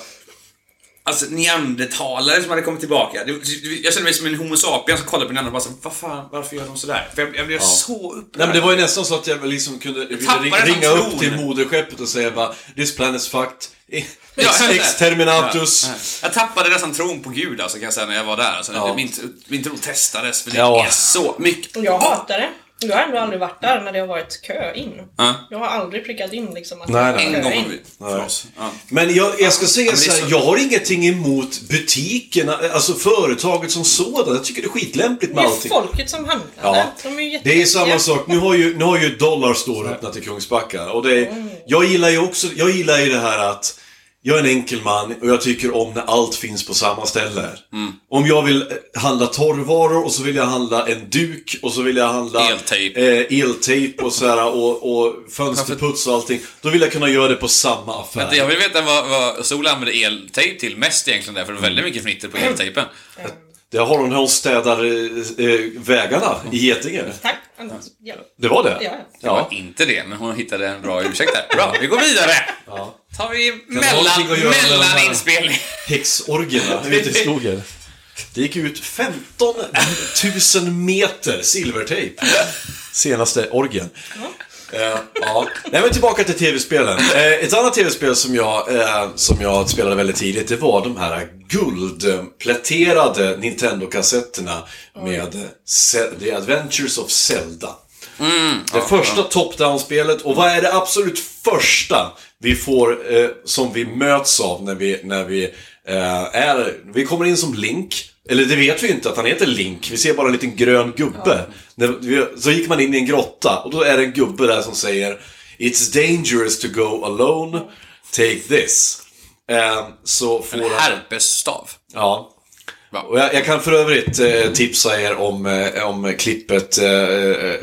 Alltså neandertalare som hade kommit tillbaka. Det- det- Jag kände mig som en homo sapiens som kollade på den andra och bara så, vad fan, varför gör de sådär? För jag, jag blev så upprörd. Nej men det var ju nästan så att jag liksom kunde ville tappade ringa, den ringa upp tron. till moderskeppet och säga bara This plan is fucked. Ja, Ex- eller- Exterminatus. Ja, ja. Jag tappade nästan tron på Gud alltså, kan jag säga, när jag var där. Alltså, Ja. min, min tro testades, för det Ja. är så mycket. Jag hatar det. Jag har ändå aldrig varit där när det har varit kö in. Ja. Jag har aldrig prickat in liksom att Nej, det är nej. kö En gång in. har vi... För oss. Ja. Men jag, jag ska säga men det så är här, så. jag har ingenting emot butikerna, alltså företaget som sådant. Jag tycker det är skitlämpligt Det med är allting. ju folket som handlar Ja. där. De är ju Det är jätteviktiga. samma sak. Nu har ju, nu har ju Dollar Store öppnat i Kungsbacka. Och det är, jag gillar ju också, jag gillar ju det här att jag är en enkel man och jag tycker om när allt finns på samma ställe. Om jag vill eh, handla torrvaror och så vill jag handla en duk och så vill jag handla Eltejp. eh, eltejp och, så här, och, och fönsterputs och allting. Då vill jag kunna göra det på samma affär. Jag vill veta vad, vad Sol använde eltejp till mest egentligen där, för det var väldigt mycket fnitter på eltejpen. Det har hon när hon städar eh, eh, vägarna i Getinge. Tack Anders. Ja. Det var det? Ja, ja. Det var inte det, men hon hittade en bra ursäkt där. Bra, vi går vidare! tar vi någonting att mellan, göra med de mellan här- inspelning. [laughs] häxorgierna ute i skogen. Det gick ut 15 000 meter silvertejp. Senaste orgen. Eh, ja. Nej, men tillbaka till tv-spelen. Eh, ett annat tv-spel som jag, eh, som jag spelade väldigt tidigt, det var de här guldpläterade Nintendo-kassetterna med eh, Ze- The Adventures of Zelda. Det första top-down-spelet, och vad är det absolut första vi får, eh, som vi möts av när vi, när vi eh, är, vi kommer in som Link, eller det vet vi ju inte att han heter Link, vi ser bara en liten grön gubbe. När vi, så gick man in i en grotta och då är det en gubbe där som säger It's dangerous to go alone, take this. Eh, så får En han- herpesstav. Ja. Va? Och jag, jag kan för övrigt eh, tipsa er om, eh, om klippet, eh,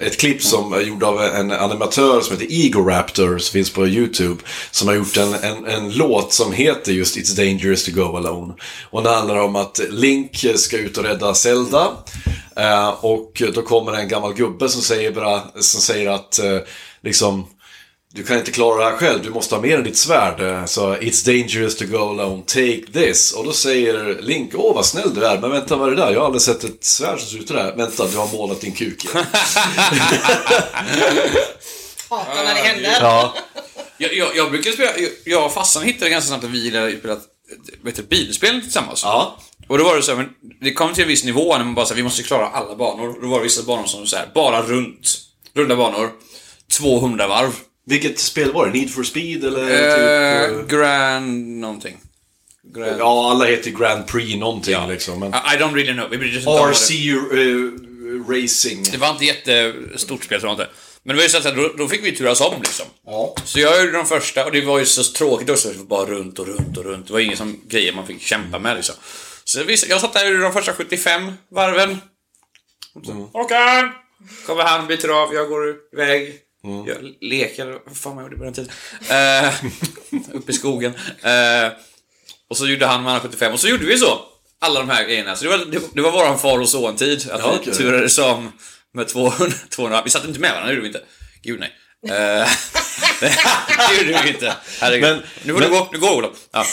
ett klipp som är gjord av en animatör som heter Ego Raptor, som finns på YouTube. Som har gjort en, en, en låt som heter just It's Dangerous to Go Alone. Och den handlar om att Link ska ut och rädda Zelda. Eh, och då kommer en gammal gubbe som säger, bara, som säger att eh, liksom du kan inte klara det här själv, du måste ha mer än ditt svärd. Eh, Så it's dangerous to go alone, take this. Och då säger Link, åh vad snäll du är, men vänta vad är det där? Jag har aldrig sett ett svärd som ser ut där. Vänta, du har målat din kuk igen. Hatar när det händer. ja. Jag, jag, jag brukar spela, jag, jag och farsan hittade ganska snabbt att vi gillade att spela vad heter det, bilspel tillsammans. Ja. Och då var det så här, men det kom till en viss nivå när man bara så här, vi måste klara alla banor. Då var det vissa banor som så här, bara runt. Runda banor. 200 varv. Vilket spel var det? Need for speed eller? Eh, typ, grand någonting. eh, Grand. ja, alla heter Grand Prix någonting liksom. Men... I, I don't really know. Vi brydde oss inte om vad RC det. eh, Racing. Det var inte jättestort spel tror jag inte. Men det var ju så att då, då fick vi turas om liksom. Ja. Så jag gjorde de första och det var ju så tråkigt också. Det var bara runt och runt och runt. Det var inga som grejer man fick kämpa med liksom. Så vi, jag satt där och gjorde de första 75 varven. Och så, Mm. Håkan! Kommer han, byter av, jag går iväg. Mm. Jag leker, vad fan man gjorde på den tiden. Eh, [laughs] upp i skogen. Eh, och så gjorde han med alla 75 och så gjorde vi så. Alla de här grejerna. Så det var, det, det var våran far och son-tid. Att Ja, vi okej. turades om med 200, 200. Vi satt inte med varandra, det gjorde vi inte. Gud nej. Eh, det gjorde vi inte. Herregud. Men- nu får men- du gå, nu går Olof. Ja.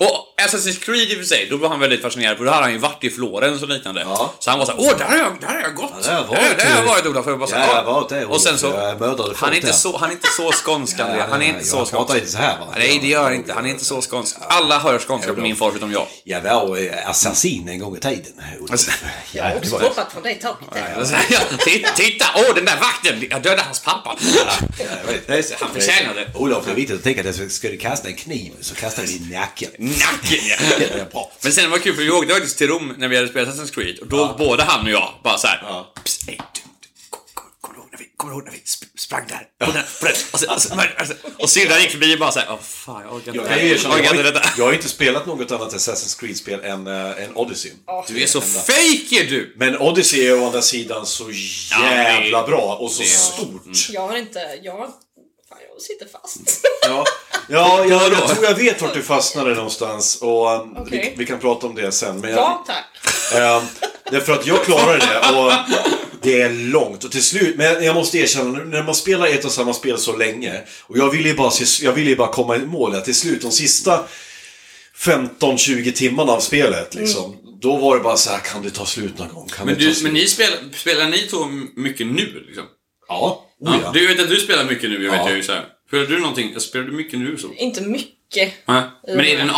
Och Assassin's Creed i och för sig, då var han väldigt fascinerad för då hade han ju varit i Florens och liknande. Ja. Så han var såhär, åh där har jag, där har jag gått! där har jag varit, där, där har jag Olof. varit Olof. Och jag bara så här, Där har "Ja." jag varit, där har jag Och sen varit. så, Jag mördade folk han är, inte där. så, han är inte så skånsk André. Ja, Han är nej, inte jag så skånsk. pratar inte så här, va? Nej det gör han inte, han är inte så skånsk. Alla hör skånska på min far utom jag. [laughs] Jag var eh, assassin en gång i tiden. eh, Jag har också hoppat från dig taket. Ja, titta, titta! Åh, den där vakten! Jag dödade hans pappa! Han förtjänar det. Olof, det är viktigt att tänka att ska du kasta en kniv så kastar du din nacken. Nacken ja! [laughs] Men sen var det kul för vi åkte faktiskt till Rom när vi hade spelat Assassin's Creed och då både han och jag bara såhär... Ja. "Psst, ey, du, du, kom- kom- Kommer du ihåg när vi- kommer du ihåg när vi sp- sprang där? På den, på den. Och, sen, och, sen, och, sen, och syrran gick förbi och bara såhär, åh fan jag orkar inte. Jag, erkänner, orkar jag, har, inte ju- detta. jag har ju inte spelat något annat Assassin's Creed-spel än, eh, än Odyssey. Du är så fake är du! Men Odyssey är å andra sidan så jävla det- bra och så stort. Jag har inte... Jag, har- fan, jag sitter fast. Ja, ja jag, Vadå? jag tror jag vet vart du fastnade någonstans och um, Okej. vi, vi kan prata om det sen. Men jag, ja, tack. Ehm, Därför att jag klarade det och det är långt och till slut, men jag måste erkänna, när man spelar ett och samma spel så länge och jag ville ju bara, jag ville ju bara komma i mål, att till slut de sista 15-20 timmarna av spelet liksom, då var det bara så här, kan det ta slut någon gång? Kan Mm. Men, det ta du, slut? men ni spelar, spelar ni två mycket nu liksom? Ja, Ja, oh, ja. Du vet att du spelar mycket nu, jag vet Ja. jag ju såhär. Spelar du någonting, spelar du mycket nu så? Inte mycket. Nej. Men är det en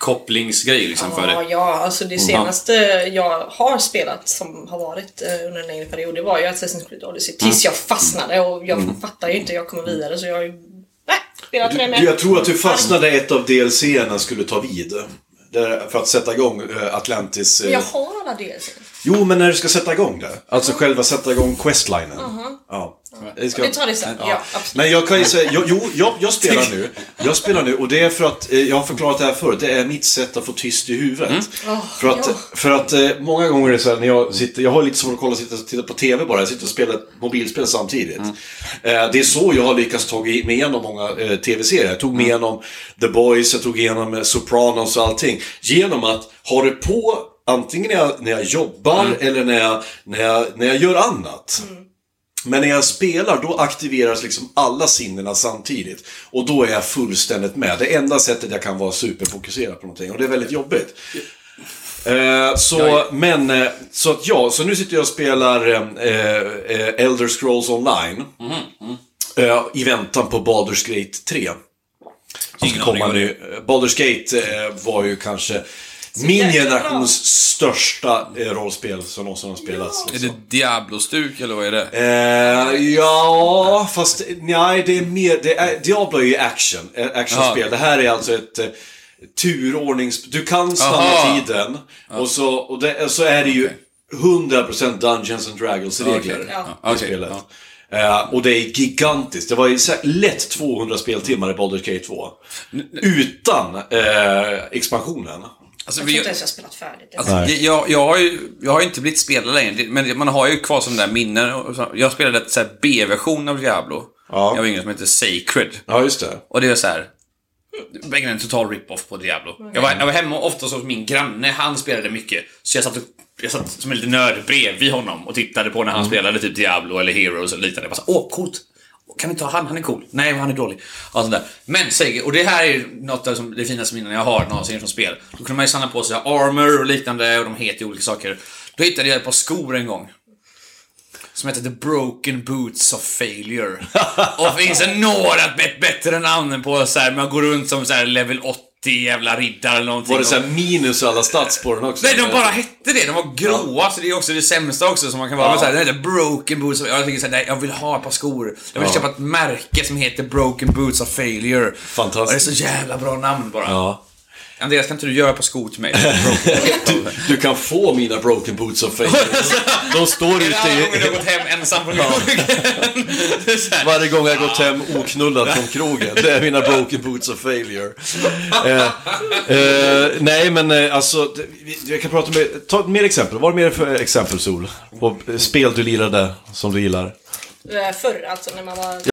avkopplingsgrej liksom för Ja, dig? Mm. ja, alltså det senaste jag har spelat som har varit eh, under en längre period, det var ju Assassin's Creed Odyssey. Mm. Tills jag fastnade och jag fattar ju inte hur jag kommer vidare så jag har ju... Nej, spelat det Du, med. du, jag tror att du fastnade ett av DLC-erna skulle ta vid. Där, för att sätta igång eh, Atlantis... eh, Men jag har alla DLC. Jo, men när du ska sätta igång det. Alltså själva sätta igång questlinen. Ja. Det ska- Vi tar det sen. Ja, [laughs] absolut. Men jag kan ju säga, jag, jo, jag, jag spelar nu. Jag spelar nu och det är för att, eh, jag har förklarat det här förut, det är mitt sätt att få tyst i huvudet. för att, ja. för att eh, många gånger är det så här, när jag sitter, jag har lite svårt att kolla, sitta, titta på TV bara, jag sitter och spelar ett mobilspel samtidigt. Eh, det är så jag har lyckats ta mig igenom många eh, TV-serier. Jag tog mig igenom The Boys, jag tog igenom eh, Sopranos och allting. Genom att ha det på, antingen när jag, när jag jobbar eller när jag, när, jag, när jag gör annat. Men när jag spelar då aktiveras liksom alla sinnena samtidigt. Och då är jag fullständigt med. Det enda sättet jag kan vara superfokuserad på någonting. Och det är väldigt jobbigt. Eh, så, men, eh, så att ja, så nu sitter jag och spelar eh, eh, Elder Scrolls online. eh, i väntan på Baldur's Gate 3. Som ska Ingen aning komma vad det nu. Eh, Baldur's Gate eh, var ju kanske min jäkla bra. generations största eh, rollspel som någonsin har spelats. Är liksom. det Diablo-stuk eller vad är det? Eh, ja, fast nej, det är mer... Det är, Diablo är ju action, eh, actionspel. Aha. Det här är alltså ett eh, turordnings... Du kan stanna Aha. tiden och, så, och det, så är det ju 100% Dungeons and Dragons-regler Okej. Ja. i Okej, spelet. ja. Eh, och det är gigantiskt. Det var ju så här lätt 200 speltimmar i Baldur's Gate 2. Utan eh, expansionen. Alltså, Jag tror inte ens jag har spelat färdigt. det. Alltså, Nej. jag, jag, har ju, jag har ju inte blivit spelare längre, det- men man har ju kvar sådana där minnen. och så- Jag spelade ett så här B-version av Diablo. Ja. Jag var yngre som hette Sacred. Ja, just det. Och det är så här. Verkligen en total rip-off på Diablo. Jag var, jag var hemma ofta hos min granne, han spelade mycket. Så jag satt, och, jag satt som en liten nörd bredvid honom och tittade på när han spelade typ Diablo eller Heroes eller liknande. Jag bara så, åh coolt! Kan vi ta han? Han är cool. Nej, han är dålig. Ja, sånt där. Men, säger, och det här är ju något av som- det finaste minnen jag har någonsin från spel. Då kunde man ju samla på sig armor och liknande och de heter ju olika saker. Då hittade jag ett par skor en gång. Som heter The Broken Boots of Failure. [laughs] Och finns det några bet- bättre namn på så här, man går runt som så här level 80 jävla riddare eller någonting. Var det så här minus alla stats på den också? Nej, de bara hette det. De var gråa, så det är också det sämsta också som man kan vara. Ja. Men så här, den heter Broken Boots. of- Jag tänker såhär, nej, jag vill ha ett par skor. Jag vill Ja. köpa ett märke som heter Broken Boots of Failure. Fantastiskt. Och det är så jävla bra namn bara. Ja. Andreas, kan inte du göra ett par skor [laughs] till mig? Broken Boots of- Du kan få mina broken boots of [laughs] fame. De står Det är ute alla gånger du har i... gått hem ensam från krogen. [laughs] Det är så här. Varje gång jag gått hem oknullad från krogen. Det är mina broken boots of failure. Eh, eh, nej, men eh, alltså, det- vi- jag kan prata med... Ta ett mer exempel. Vad är det mer för exempel, Sol? På eh, spel du lirade, som du gillar. Eh, Förr alltså, när man var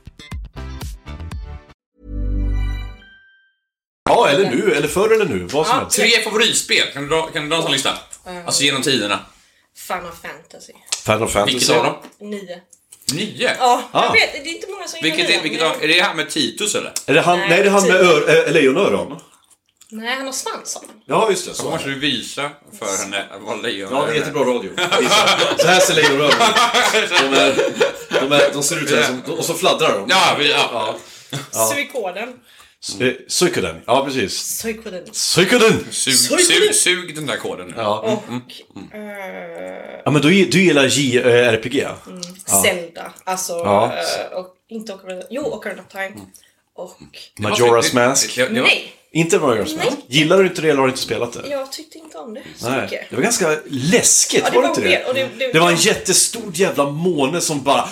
Ja, eller nu, eller förr eller nu. Vad som helst. Tre favoritspel, kan du dra, kan du dra en sån lista? Mm. Alltså genom tiderna. Final Fantasy. Final Vilket Fantasy. av dem? Nio. Nio? Ja, Ah. jag vet. Det är inte många som Vilket gillar är, nio, vilket men- av, är det här med Titus eller? Är det han, Nej, nej, det är han med typ. ör, äh, lejonöron. Nej, han har svansen. Ja, just det. Då Så. måste du visa för henne vad lejon Ja, det är jättebra radio. Så här ser lejonrören ut. De, är- de, är- de ser ut så här som, och så fladdrar de. Ja, vi, ja. Suikoden. Eh, Suikoden, ja precis. Suikoden. Suikoden! Sug, Sorry, sug, men- sug den där koden nu. Ja. Och mm. eh, ja, men du, du gillar eh, JRPG? Mm. Zelda. Alltså, Ja. Mm. eh, och inte Ocarina... Jo, Ocarina of Time. Och... Det var Majora's faktiskt- Mask? det- det var- Nej! Inte Majora's Mask? Gillar du inte det eller har du inte spelat det? Jag tyckte inte om det så Nej. mycket. Det var ganska läskigt, Ja, det var det var inte weird, det? och det- det- Det var en jättestor jävla måne som bara...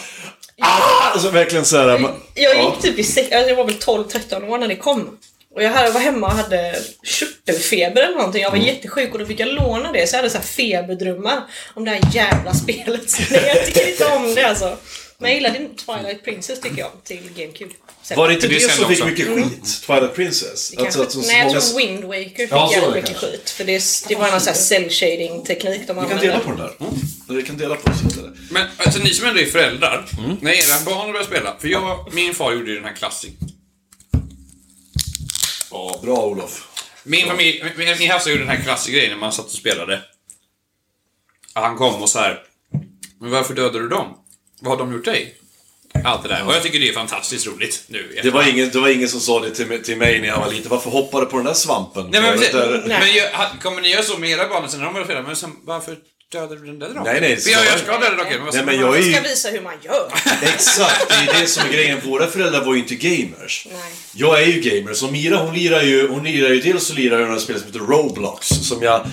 Ah! Alltså verkligen så här... man- Jag Ja. gick typ i sex, alltså jag var väl 12-13 år när det kom. Och jag hade- var hemma och hade körtelfeber eller någonting. Mm. Jag var jättesjuk och då fick jag låna det. Så jag hade så här feberdrömmar om det här jävla spelet. [laughs] Så nej, jag tycker inte om det alltså. Men jag gillade Twilight Princess tycker jag till GameCube. Sen- Var det inte Det det kände som fick också. mycket skit? Twilight Princess? Mm. Alltså, Kanske, att så- så nej, jag många- tror Wind Waker fick Ja, så var jävligt det mycket kanske. skit. För det, det var någon sån här cell shading teknik de Vi kan dela använde. på den där. Vi kan dela på den. Men alltså, ni som ändå är föräldrar, Mm. när era barn börjar spela. För jag, min far gjorde ju den här klassikern. Ja, bra Olof. Min familj, min, min hälsa gjorde den här klassiska grejen när man satt och spelade. Att Han kom och så här. Men varför dödade du dem? Vad har de gjort dig? allt det där. Och jag tycker det är fantastiskt roligt nu. i Det var, efterhand. ingen, det var ingen som sa det till, mig- till mig när jag var liten. Varför hoppade du på den där svampen? Nej, men, precis. Där- men gör- ha- kommer ni göra så med era barn sen när de är fyra? Men sen, varför dödade du den där draken? Nej, nej, För jag, så- jag ska döda draken. Men vad Nej, men ska man- jag är Jag ska ju... visa hur man [laughs] gör. Exakt, det är det som är grejen. Våra föräldrar var ju inte gamers. Nej. Jag är ju gamer, så Mira hon lirar ju, hon lirar ju dels så lirar hon ett spel som heter Roblox, som jag...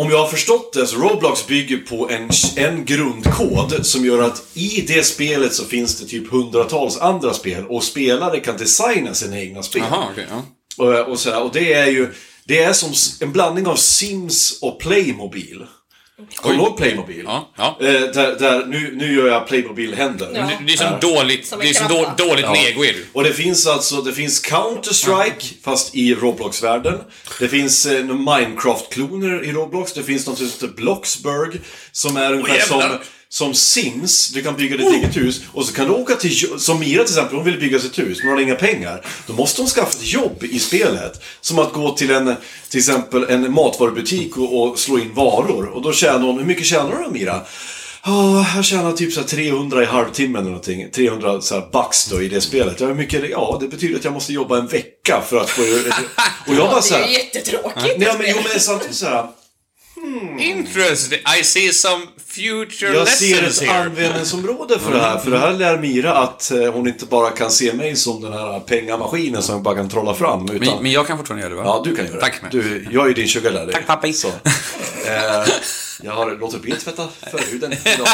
Om jag har förstått det, så Roblox bygger på en, en grundkod som gör att i det spelet så finns det typ hundratals andra spel och spelare kan designa sina egna spel. Jaha, okej. ja. Och, eh, och, sådär, och det är ju det är som s- en blandning av Sims och Playmobil. Kommer du ihåg Playmobil? Ja, ja. Eh, där, där, nu, nu gör jag Playmobil-händer. Ja. Det är som dåligt, Som en det är som då, kratta. dåligt Ja. lego är det ju. Och det finns alltså, det finns Counter-Strike, fast i Roblox-världen. Det finns eh, Minecraft-kloner i Roblox. Det finns något som heter Bloxburg, som är ungefär som, jävlar. som Sims. Du kan bygga ditt eget hus. Och så kan du åka till, jo- som Mira till exempel, hon vill bygga sitt hus, men hon har inga pengar. Då måste hon skaffa ett jobb i spelet. Som att gå till en, till exempel en matvarubutik och, och slå in varor. Och då tjänar hon, hur mycket tjänar du då Mira? Ja, jag tjänar typ så här 300 i halvtimmen eller någonting. 300 så här bucks då i det spelet. Ja, hur mycket, är det? ja, det betyder att jag måste jobba en vecka för [laughs] att få... Och jag bara Det så är här... ju jättetråkigt. Alltså. Nej, men jo, men samtidigt så här... Interesting. I see some future Mm. Jag ser lessons ett here. användningsområde för det här. För det här lär Mira att eh, hon inte bara kan se mig som den här pengamaskinen som jag bara kan trolla fram. Utan... Men, men jag kan fortfarande göra det va? Ja, du kan göra Tack, det. men. Du, jag är ju din sugar daddy. Tack, pappi. [laughs] Så. Eh, jag har låtit bli att tvätta förhuden idag.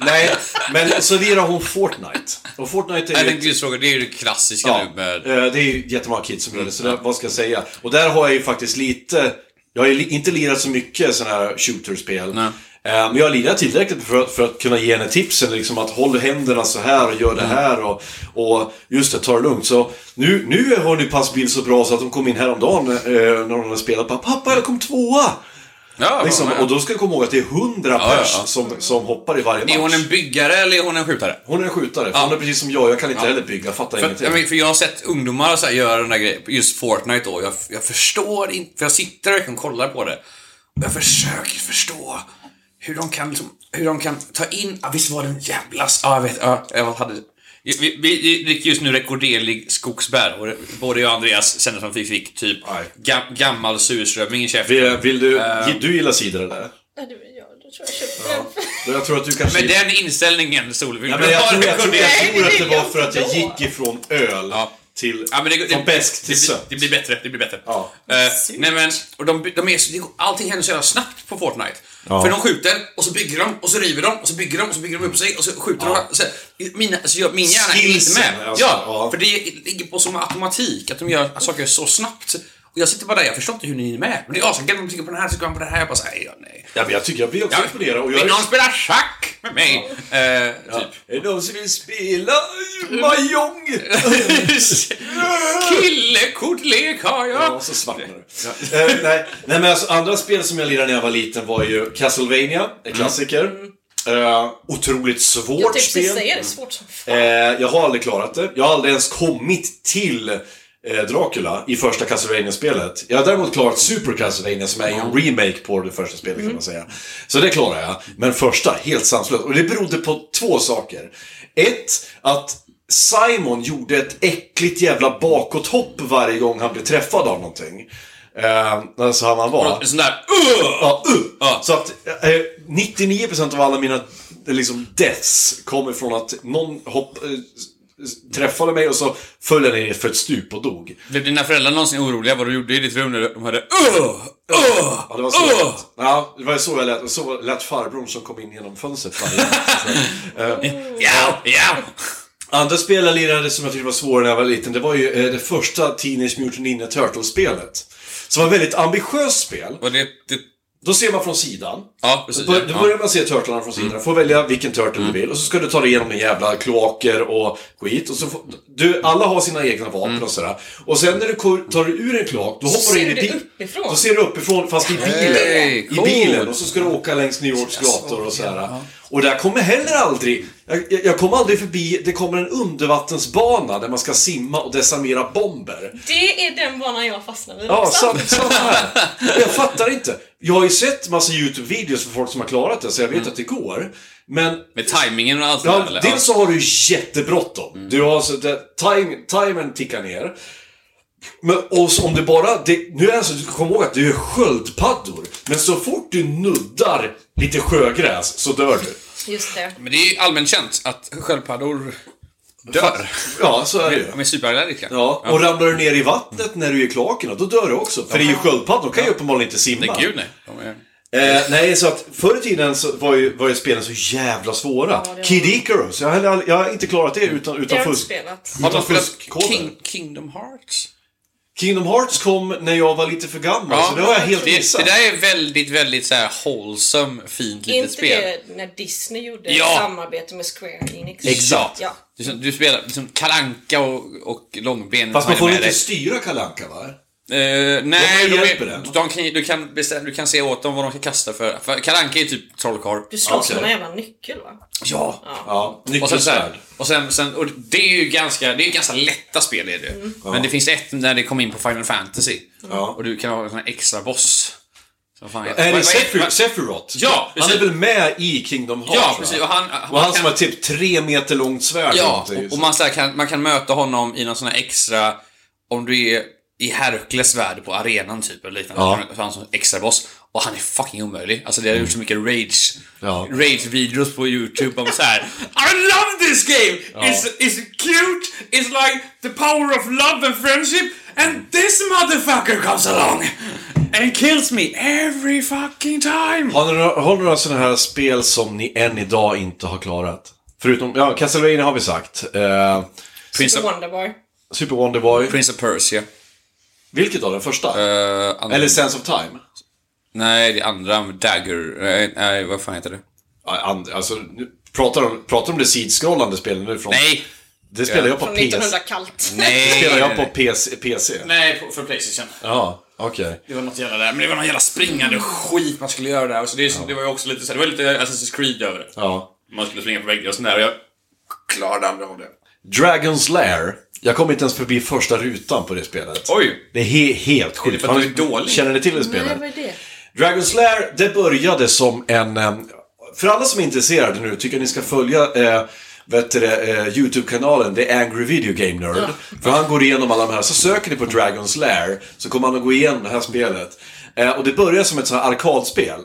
Nej, men så lirar hon Fortnite. Och Fortnite är Jag ju... tänkte just fråga, det är ju det klassiska nu med... eh, det är ju jättemånga kids som gör det, så där, vad ska jag säga? Och där har jag ju faktiskt lite... Jag har ju li- inte lirat så mycket sådana här shooterspel. Nej. Eh, Men jag har lirat tillräckligt för att, för att kunna ge henne tipsen, liksom att håll händerna så här och gör det Mm. här och, och just det, ta det lugnt. Så nu, nu har hon ju passbil så bra så att hon kom in häromdagen eh, när hon hade spelat bara, pappa jag kom tvåa! ja, Liksom, ja, ja. och då ska jag komma ihåg att det är hundra ja, pers ja. Som, som hoppar i varje match. Är hon en byggare eller är hon en skjutare? Hon är en skjutare, för hon är precis som jag, jag kan inte heller bygga, fattar För, ingenting. jag, men, för jag har sett ungdomar så här, göra den där grejen, just Fortnite då. Jag, jag förstår inte, för jag sitter verkligen och kollar på det. Och jag försöker förstå hur de kan, liksom, hur de kan ta in, ah, visst var det en jävla... s- Ja, jag vet, ja, jag hade... Vi, vi, vi dricker just nu rekorderlig skogsbär och det- både jag och Andreas kände som att vi fick typ Aj. ga, gammal surströmming i käften. Vill, vill du, Ehm. du gillar cider eller? Ja, det- ja, då tror jag köpte den. [laughs] Jag tror att du kanske... Med den inställningen, Solveig, ja, du men jag, har tror, jag, tror, jag rekorderlig- tror att det var jag för att jag då. gick ifrån öl Ja. till... Ja, men det, det, från bäst till det, blir- sött. det blir bättre, det blir bättre. Ja. Eh, nej men, och de, de är, så- det går- allting händer så jävla snabbt på Fortnite. För de skjuter, och så bygger de, och så river de, och så bygger de, och så bygger de upp sig, och så skjuter de. Så, mina, så gör, min hjärna är inte Skillsen, med. alltså, ja, ja. för det ligger på som automatik, att de gör saker så snabbt. Och jag sitter bara där, jag förstår inte hur ni är med. Men det är asenkul, de trycker på den här, så går man på den här, jag bara såhär, ja, nej. Ja, men jag tycker jag blir också imponerad. Och jag Vill är... någon spela schack med mig? Eh, typ. Är det någon som vill spela Mahjong? [laughs] Killekortlek har jag! Ja, så svartnar du. Eh, nej. nej, men alltså andra spel som jag lirade när jag var liten var ju Castlevania, en klassiker. Mm. Eh, otroligt svårt Jag tänkte precis spel. säga det, svårt som fan. Eh, jag har aldrig klarat det. Jag har aldrig ens kommit till eh, Dracula i första Castlevania-spelet. Jag har däremot klarat Super Castlevania som är en remake på det första spelet kan man säga. Så det klarar jag. Men första, helt sanslöst. Och det berodde på två saker. Ett, att Simon gjorde ett äckligt jävla bakåthopp varje gång han blev träffad av någonting. Eh, alltså han han var. Och en sån där "Ugh!" Ja, uh. Ja. Så att eh, 99% av alla mina eh, liksom, deaths kommer från att någon hopp, eh, s- träffade mig och så föll jag ner för ett stup och dog. Blev dina föräldrar någonsin oroliga vad du gjorde i ditt rum när de hörde "Ugh! Ugh! Ja, det var så, Ugh!" jag lät. ja, det var så jag lät. Så lät farbrorn som kom in genom fönstret varje [laughs] dag. Ja, ja! Andra spel jag lirade som jag tyckte var svårare när jag var liten, det var ju eh, det första Teenage Mutant Ninja Turtles-spelet. Som var ett väldigt ambitiöst spel. Och det, det, Då ser man från sidan. ja, precis. Då Ja, Mm. då ja. börjar man se turtlarna från sidan. Får välja vilken turtle du vill. Och så ska du ta dig igenom en jävla kloaker och skit. Och så får, du, alla har sina egna vapen Mm. och sådär. Och sen när du ko- tar dig ur en kloak, då hoppar du in ser i du bilen. uppifrån. Då ser du uppifrån, fast i bilen. Hey, I coolt. bilen. Och så ska du åka längs New Yorks gator och sådär. Och där kommer heller aldrig... Jag, jag- jag kommer aldrig förbi... Det kommer en undervattensbana där man ska simma och desarmera bomber. Det är den banan jag fastnade vid Mm. Ja, också. sam, samma här. Jag fattar inte. Jag har ju sett massa YouTube-videos för folk som har klarat det, så jag vet att det går. Men Med tajmingen och allt det Mm. Ja, Mm. där, eller? dels så har du jättebråttom. Du har så det, time, timern tickar ner. Men och så om det bara, det, nu är det så, du ska komma ihåg att det är sköldpaddor. Men så fort du nuddar lite sjögräs så dör du. Just det. Men det är ju allmänt känt att sköldpaddor dör. Ja, så är det ju. De är superallergiska. Ja, och ramlar du ner i vattnet när du är i kloakerna, då dör du också. För det är ju sköldpaddor, de kan ju uppenbarligen inte simma. Nej, gud nej. De är... Eh, nej, så att förr i tiden så var ju, var ju spelen så jävla svåra. Kid Icarus, jag har, aldrig- jag har inte klarat det utan, Det utan har jag inte fusk. spelat. Har de Utan spelat fuskkoder. King, Kingdom Hearts? Kingdom Hearts kom när jag var lite för gammal, så det har jag helt det, missat. det där är väldigt, väldigt så här wholesome, fint Är litet inte spel. det när Disney gjorde Ja. samarbete med Square Enix? Exakt. Ja. Du, som- du spelar liksom kalanka och, och långben. Fast som man är får med inte dig. styra kalanka va? Eh, De nej, de hjälper är, den. de kan, du, kan bestäm, du kan se åt dem vad de ska kasta för. för kalanka är ju typ trollkarl. Du slåss Okej. med en jävla nyckel va? Ja! Ja, Och sen, så nyckelsvärd. här, och sen, sen och det är ju ganska, det är ju ganska lätta spel är det. ju. Men det finns ett när det kom in på Final Fantasy. Ja. Och du kan ha en sån här extra boss. Som fan heter- Är vad- det vad Sephiroth? vad- Sephiroth? Ja, Han är precis. väl med i Kingdom Hearts? Ja, va? precis. Och han, Och han som har typ tre meter långt svärd. Ja, runt i- och, och man, så här, kan, man kan möta honom i någon sån här extra... Om du är i Herkules värld på arenan typ, eller liknande. Ja. så kan du- så Han som extra boss. Och han är fucking omöjlig. Alltså det har gjort så mycket rage... Ja. Rage-videos på YouTube om så här. I love this game! It's, it's cute, it's like the power of love and friendship and this motherfucker comes along and kills me every fucking time! Har ni några, har ni några sådana här spel som ni än idag inte har klarat? Förutom, ja, Castlevania har vi sagt. Eh, Prince of, Wonderboy. Super Wonderboy. Prince of Persia. Vilket av den första? Eh, andra- Eller Sense of Time? Nej, det andra, Dagger. Nej, nej vad fan heter det? Ja, and- Alltså, nu pratar de, pratar de det sidskrollande spelet nu? Från, Nej! Det spelar jag på Från PS. 1900 kallt. Det Nej! spelar jag på PC. PC. Nej, på- för Playstation. Ja, okej. Det var något jävla där, men det var någon jävla springande skit man skulle göra där. Och Så det, det var ju också lite så här, det var lite Assassin's Creed över det. Ja. Man skulle springa på väggar och sådär och jag klarade aldrig av det. Dragon's Lair. Jag kom inte ens förbi första rutan på det spelet. Oj! Det är he- helt sjukt. för att Har du är ni- dålig? Känner ni till det Nej, spelet? vad är det? Dragon's Lair, det började som en... eh, För alla som är intresserade nu, tycker jag ni ska följa eh, vet du, det, eh, YouTube-kanalen The Angry Video Game Nerd. För han går igenom alla de här. Så söker ni på Dragon's Lair så kommer han att gå igenom det här spelet. Eh, och det börjar som ett sånt här arkadspel.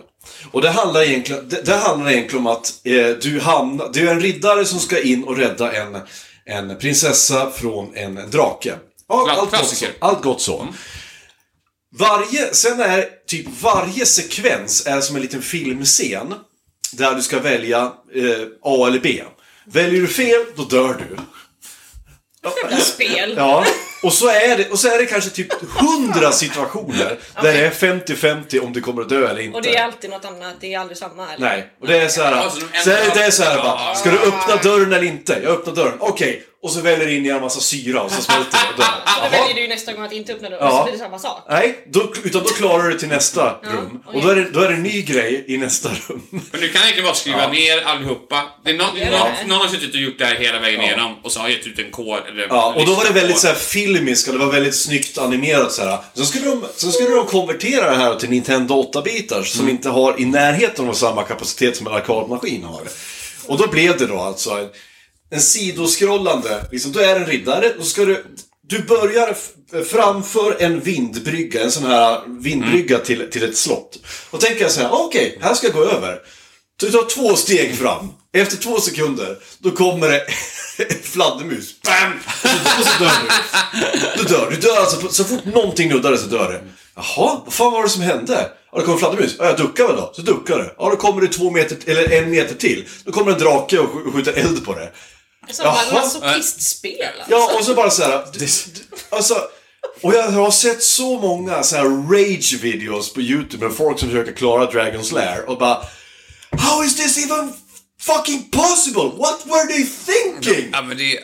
Och det handlar egentligen, det, det handlar egentligen om att eh, du hamnar... Du är en riddare som ska in och rädda en, en prinsessa från en drake. Ja, allt gott så. Klassiker. Allt gott så. Varje, sen är typ varje sekvens är som en liten filmscen. Där du ska välja eh, A eller B. Väljer du fel, då dör du. Jävla spel. Ja, och så är det, och så är det kanske typ 100 situationer där det är 50-50 om du kommer att dö eller inte. Och det är alltid något annat, det är aldrig samma. Eller? Nej, och det är så här. Alltså, de så är det, ändrar- det är så här bara, ska du öppna dörren eller inte? Jag öppnar dörren, okej. Och så väljer det in i en massa syra och så smälter det och dör. Då Jaha. väljer du ju nästa gång att inte öppna dörren, Ja. och så blir det samma sak. Äh. Nej, då, utan då klarar du det till nästa rum. Och då är, det, då är det en ny grej i nästa rum. Men du kan egentligen bara skriva ner allihopa. Det är någon, Ja. någon, någon har suttit och gjort det här hela vägen igenom och så har gett ut en kod. Eller Ja, och då var det väldigt så här. här filmiskt och det var väldigt snyggt animerat så här. Sen skulle de, sen skulle de konvertera det här till Nintendo 8-bitar som inte har i närheten av samma kapacitet som en arkadmaskin har. Och då blev det då alltså en, en sidoskrollande, liksom, du är en riddare, då ska du... Du börjar f- framför en vindbrygga, en sån här vindbrygga till, till ett slott. Och tänker jag så här, "Ah, okej, här ska jag gå över. Du tar två steg fram. Efter två sekunder, då kommer det [laughs] en fladdermus. Bam! Och så, och så dör du. Du dör. Du dör alltså. på- Så fort någonting nuddar dig så dör du. Jaha, vad fan var det som hände? Ja, det kom en fladdermus. Ja, jag duckar väl då. Så duckar du. Ja, då kommer det två meter, eller en meter till. Då kommer en drake och sk- skjuter eld på det. Som ett Jaha. masochistspel. alltså. Ja, och så bara så här. d- d- Alltså, och jag har sett så många så här rage-videos på YouTube med folk som försöker klara Dragon's Lair och bara How is this even fucking possible? What were they thinking? Ja, men det...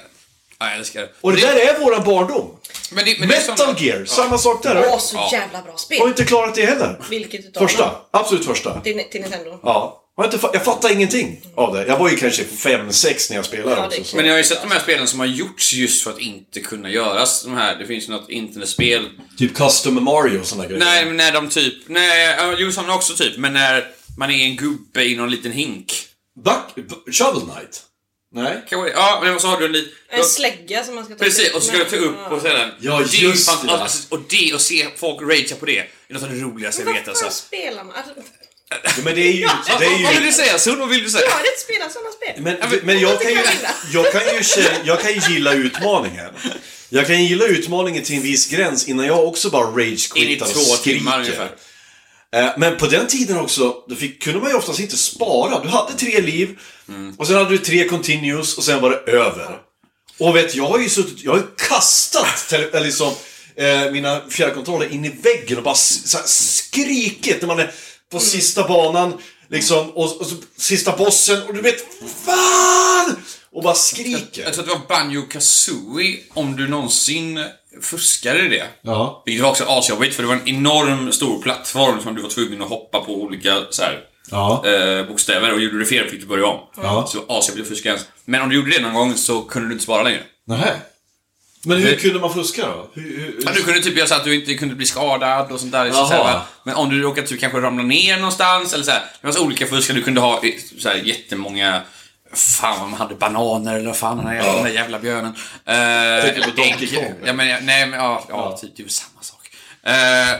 Ja, jag älskar det. Och det där är våran barndom. Men det, men det är som- Metal Gear, samma sak där. Åh, så Ja. jävla bra Har spel. inte klarat det heller. Vilket utav Första, dem? absolut första. Till, till Nintendo. Ja. Jag, inte, fa- jag fattar ingenting av det. Jag var ju kanske 5-6 när jag spelade Ja, det också. är Så. Men jag har ju sett de här spelen som har gjorts just för att inte kunna göras. De här, det finns ju något internetspel. Typ Custom Mario och sådana grejer. Nej, men när de typ... Nej, ja, jo, sådana också typ. Men när man är en gubbe i någon liten hink. Duck, Shovel Knight? Nej. Kanske- Ja, men så har du en liten... En slägga som man ska ta Precis, till. och så ska du ta upp och sedan... Ja, det är ju just fan- det. Alltså, och det, och se folk ragea på det, är något av det roligaste jag Vad vet alltså. fan spelar man? Alltså, Ja, men det är ju... Det är Vad- Vad vill ju du säga Sun? Vad vill du säga? Jag har inte spelat sådana spel. men, men jag kan ju... Jag kan ju, kä- jag kan ju gilla utmaningen. Jag kan gilla utmaningen till en viss gräns innan jag också bara In i rage-quittar och två timmar skriker. ungefär. Eh, Men på den tiden också, då fick, kunde man ju oftast inte spara. Du hade tre liv, Mm. och sen hade du tre continues, och sen var det över. Och vet, jag har ju suttit, jag har ju kastat tele, eller liksom, eh, mina fjärrkontroller in i väggen och bara s- så här skrikit när man är på Mm. sista banan, liksom, och, och så, sista bossen, och du vet, fan! Och bara skriker. Jag tror att det var Banjo Kazooie, om du någonsin fuskade i det. Ja. Vilket var också asjobbigt, för det var en enorm stor plattform som du var tvungen att hoppa på olika så här, Ja. eh, bokstäver. Och gjorde du det fel fick du börja om. Ja. Så det var asjobbigt att fuska ens. Men om du gjorde det någon gång så kunde du inte spara längre. Nähä. Men hur Det- kunde man fuska då? Hur, hur, Ja, du kunde typ göra så att du inte kunde bli skadad och sånt där. Så här, Jaha. va? men om du råkade typ kanske ramla ner någonstans eller så här. Det var så olika fuskar. Du kunde ha eh, så här, jättemånga... Fan vad man hade bananer eller vad fan den här jävla, den där jävla björnen. Eh, Tänker på eller Donkey ägg. Kong. Ja, men, ja, nej, men ja, ja, typ det är väl samma sak. Eh,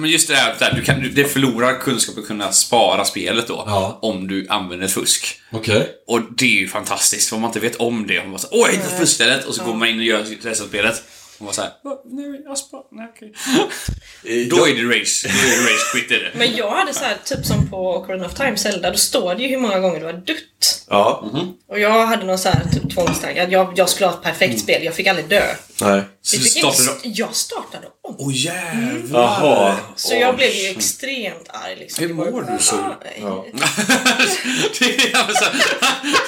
men just det här, så här, du kan, du, det förlorar kunskap att kunna spara spelet då. Ja. Om du använder fusk. Okej. Och det är ju fantastiskt, för om man inte vet om det, man bara så, åh jag hittade fuskstället och så går man in och gör resten av spelet. Och man såhär, nej jag spar, nej [laughs] okej. Då är det rage, då är det rage quit är det. Men jag hade så här, typ som på Ocarina of Time, Zelda, då står det ju hur många gånger du har dött. Ja. Och jag hade någon så här typ tvångstanke, att jag, jag skulle ha ett perfekt spel, jag fick aldrig dö. Nej. Mm. Så Vi du fick inte- startade Jag startade om. Åh jävlar! Jaha. Så jag blev ju extremt arg liksom. "Ah, Hur Det var ju- mår du, så? Ja. [laughs] Det är alltså-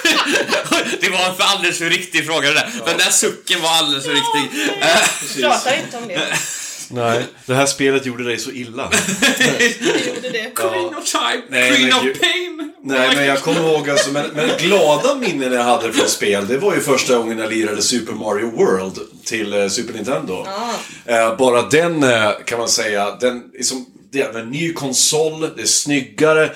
[laughs] det var en för alldeles för riktig fråga det där. Den där sucken var alldeles för riktig. Prata inte om det. Nej, det här spelet gjorde dig så illa. Jag gjorde det. Queen of time, Nej, queen men of ju- pain. Nej, men jag kommer ihåg alltså, men, men glada minnen jag hade från spel, det var ju första gången jag lirade Super Mario World till eh, Super Nintendo. Eh, bara den eh, kan man säga, den, liksom, det är en ny konsol, det är snyggare.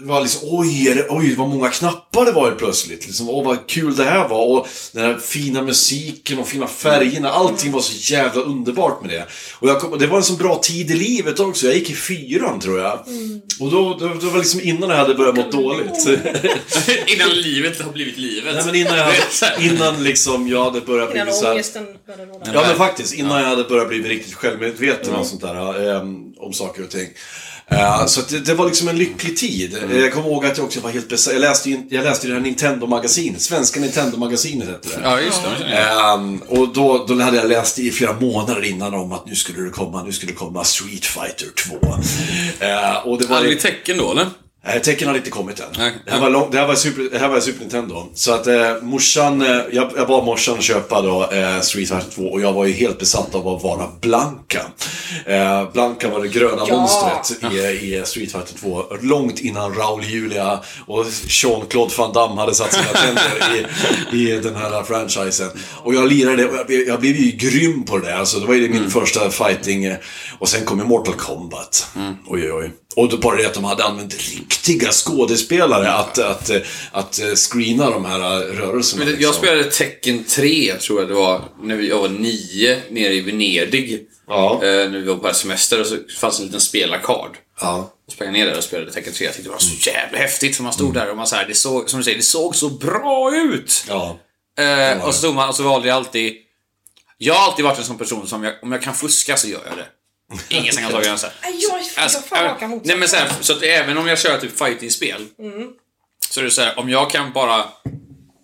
Det var liksom, oj, är det, oj, vad många knappar det var helt plötsligt. Liksom, åh, vad kul det här var. Och den här fina musiken och fina färgerna. Allting var så jävla underbart med det. Och jag kom, det var en så bra tid i livet också. Jag gick i fyran, tror jag. Och då, då, då var liksom innan jag hade börjat må dåligt. [laughs] Innan livet har blivit [laughs] livet. Nej, men innan, jag, Det är så [laughs] här- innan liksom jag hade börjat bli Innan så här, ångesten började råda. Ja men faktiskt, innan jag hade börjat bli riktigt självmedveten och sånt där, eh, om saker och ting. Eh, så att det, det var liksom en lycklig tid. Eh, Jag kommer ihåg att jag också var helt besatt. Jag läste ju jag läste ju det här Nintendo-magasinet, Svenska Nintendo-magasinet hette det. Ja, just det. det känner jag. Ehm, och då, då hade jag läst i flera månader innan om att nu skulle det komma, nu skulle det komma Street Fighter 2. Eh, och det var Aldrig tecken då, eller? Nej, tecken har Eh, inte kommit än. Nej. Det, här var lång, det, här var super, det här var Super Nintendo. Så att eh, morsan, eh, jag, jag bad morsan köpa då eh, Street Fighter 2 och jag var ju helt besatt av att vara Blanka. Eh, Blanka var det gröna Ja. monstret i, i Alltså, Street Fighter 2. Långt innan Raul Julia och Jean-Claude Van Damme hade satt sina tänder i, i den här franchisen. Och jag lirade och jag blev, jag blev ju grym på det där. Alltså, det var ju min första fighting. eh, Och sen kom ju Mortal Kombat. Oj, oj, oj. Och då bara det att de hade använt riktiga skådespelare att, att, eh, att eh, screena de här eh, rörelserna. Men det- liksom. Jag spelade Tekken 3, tror jag det var, när vi- jag var nio, nere i Venedig. Ja. Eh, när vi var på semester och så fanns en liten spelarkard. Ja. Och sprang jag ner där och spelade Tekken 3. Jag tyckte det var så jävla häftigt för man stod där och man så här, det såg, som du säger, det såg så bra ut! Ja. Eh, och så stod man och så valde jag alltid... Jag har alltid varit en sån person som, jag, om jag kan fuska så gör jag det. Ingen som kan ta gränsen. Nej, Jag, jag Alltså, fan äh, raka motsatsen. Mm. nej, men så, här, så att även om jag kör typ fighting-spel Så är det så här, om jag kan bara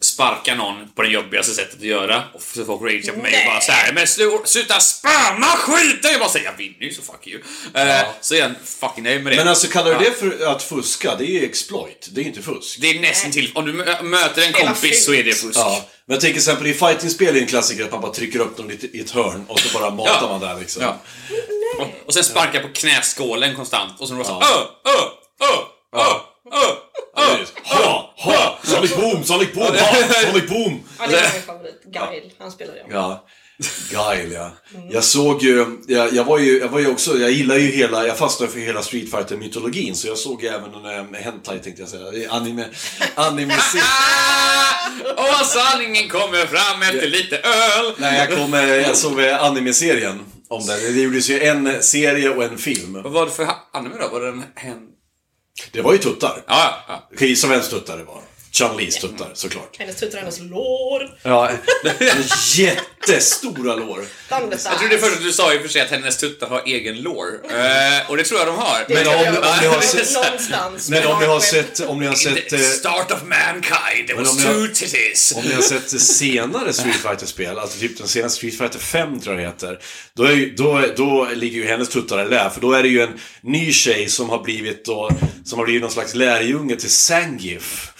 sparka någon på det jobbigaste sättet att göra och så folk ragear på mig och bara så här, men slu- sluta spamma skiten! Jag bara säger jag vinner ju så fuck you. Eh, Så är jag fucking nöjd med det. Men alltså kallar Ja. du det för att fuska? Det är ju exploit, det är ju inte fusk. Det är nästan till om du mö- möter en Spela kompis så är det fusk. Ja, men jag tänker till exempel i fightingspel är en klassiker att man bara trycker upp dem lite i ett hörn och så bara matar Ja. man där liksom. Ja. Och, och sen sparkar på knäskålen konstant och sen bara så öh, öh, öh, öh. ö, Ha! Ha! Sonic Boom! Sonic Boom! Ha! Sonic Boom! [laughs] Ja, det var min favorit. Guile, han spelade jag. Ja. Guile, ja. Jag såg ju, jag, jag, var ju, jag var ju också, jag gillar ju hela, jag fastnade för hela Street fighter mytologin så jag såg ju även en eh, Hentai tänkte jag säga, anime, anime [laughs] Ah! Och sanningen kommer fram efter lite öl. Nej, jag, kom, eh, jag såg eh, anime-serien om det. Det gjordes ju en serie och en film. Vad var det för ha- anime då? Var det en... en... Det var ju tuttar. Ja, ja. Skit som ens tuttar det var. Chun-Lis tuttar, såklart. Hennes tuttar, hennes lår. Ja, [laughs] jättestora lår. Thunderstar. Jag trodde först att du sa i och för sig att hennes tuttar har egen lore. Eh, och det tror jag de har. Men om, om ni har sett... Någonstans. Men om ni har sett, om ni har sett, The eh, start of mankind, there Men om was jag- two titties. om ni har sett senare Street fighter spel alltså typ den senaste Street Fighter 5 tror jag det heter, då, är, ju- då, då ligger ju hennes tuttar i lä, för då är det ju en ny tjej som har blivit, då, som har blivit någon slags lärjunge till Sangif.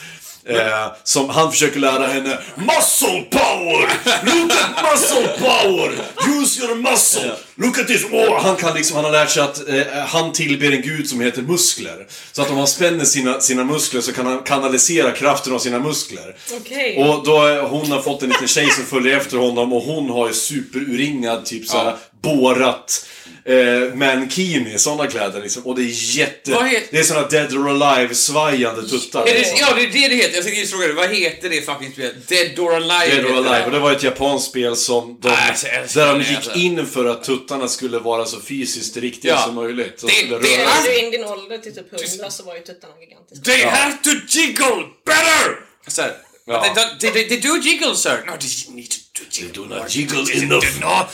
Eh, som han försöker lära henne Muscle power! Look at muscle power! Use your muscle! Look at this! Oh, han, kan liksom, han har lärt sig att eh, han tillber en gud som heter muskler. Så att om han spänner sina, sina muskler så kan han kanalisera kraften av sina muskler. Okej. Och då har hon har fått en liten tjej som följer efter honom och hon har ju superurringad, typ såhär Ja. borat eh, mankini, sådana kläder liksom. Och det är jätte... Vad heter- Det är såna dead or alive-svajande tuttar. Är det, ja, det är det det heter. Jag tänkte just fråga dig, vad heter det fucking spelet? Dead or Alive? Dead or heter det. Alive, och det var ett japanskt spel som de, Nej, alltså, jag älskar där de det, gick alltså. in för att tuttarna skulle vara så fysiskt riktiga Ja. som möjligt. Så Det- skulle det- röra- När du är i din ålder till typ 100 så var ju tuttarna gigantiska. They have to jiggle better! Så här, Ja. they, don't- they, they, they do jiggle, sir. No, they need to jiggle. They do not jiggle enough. Tuttar.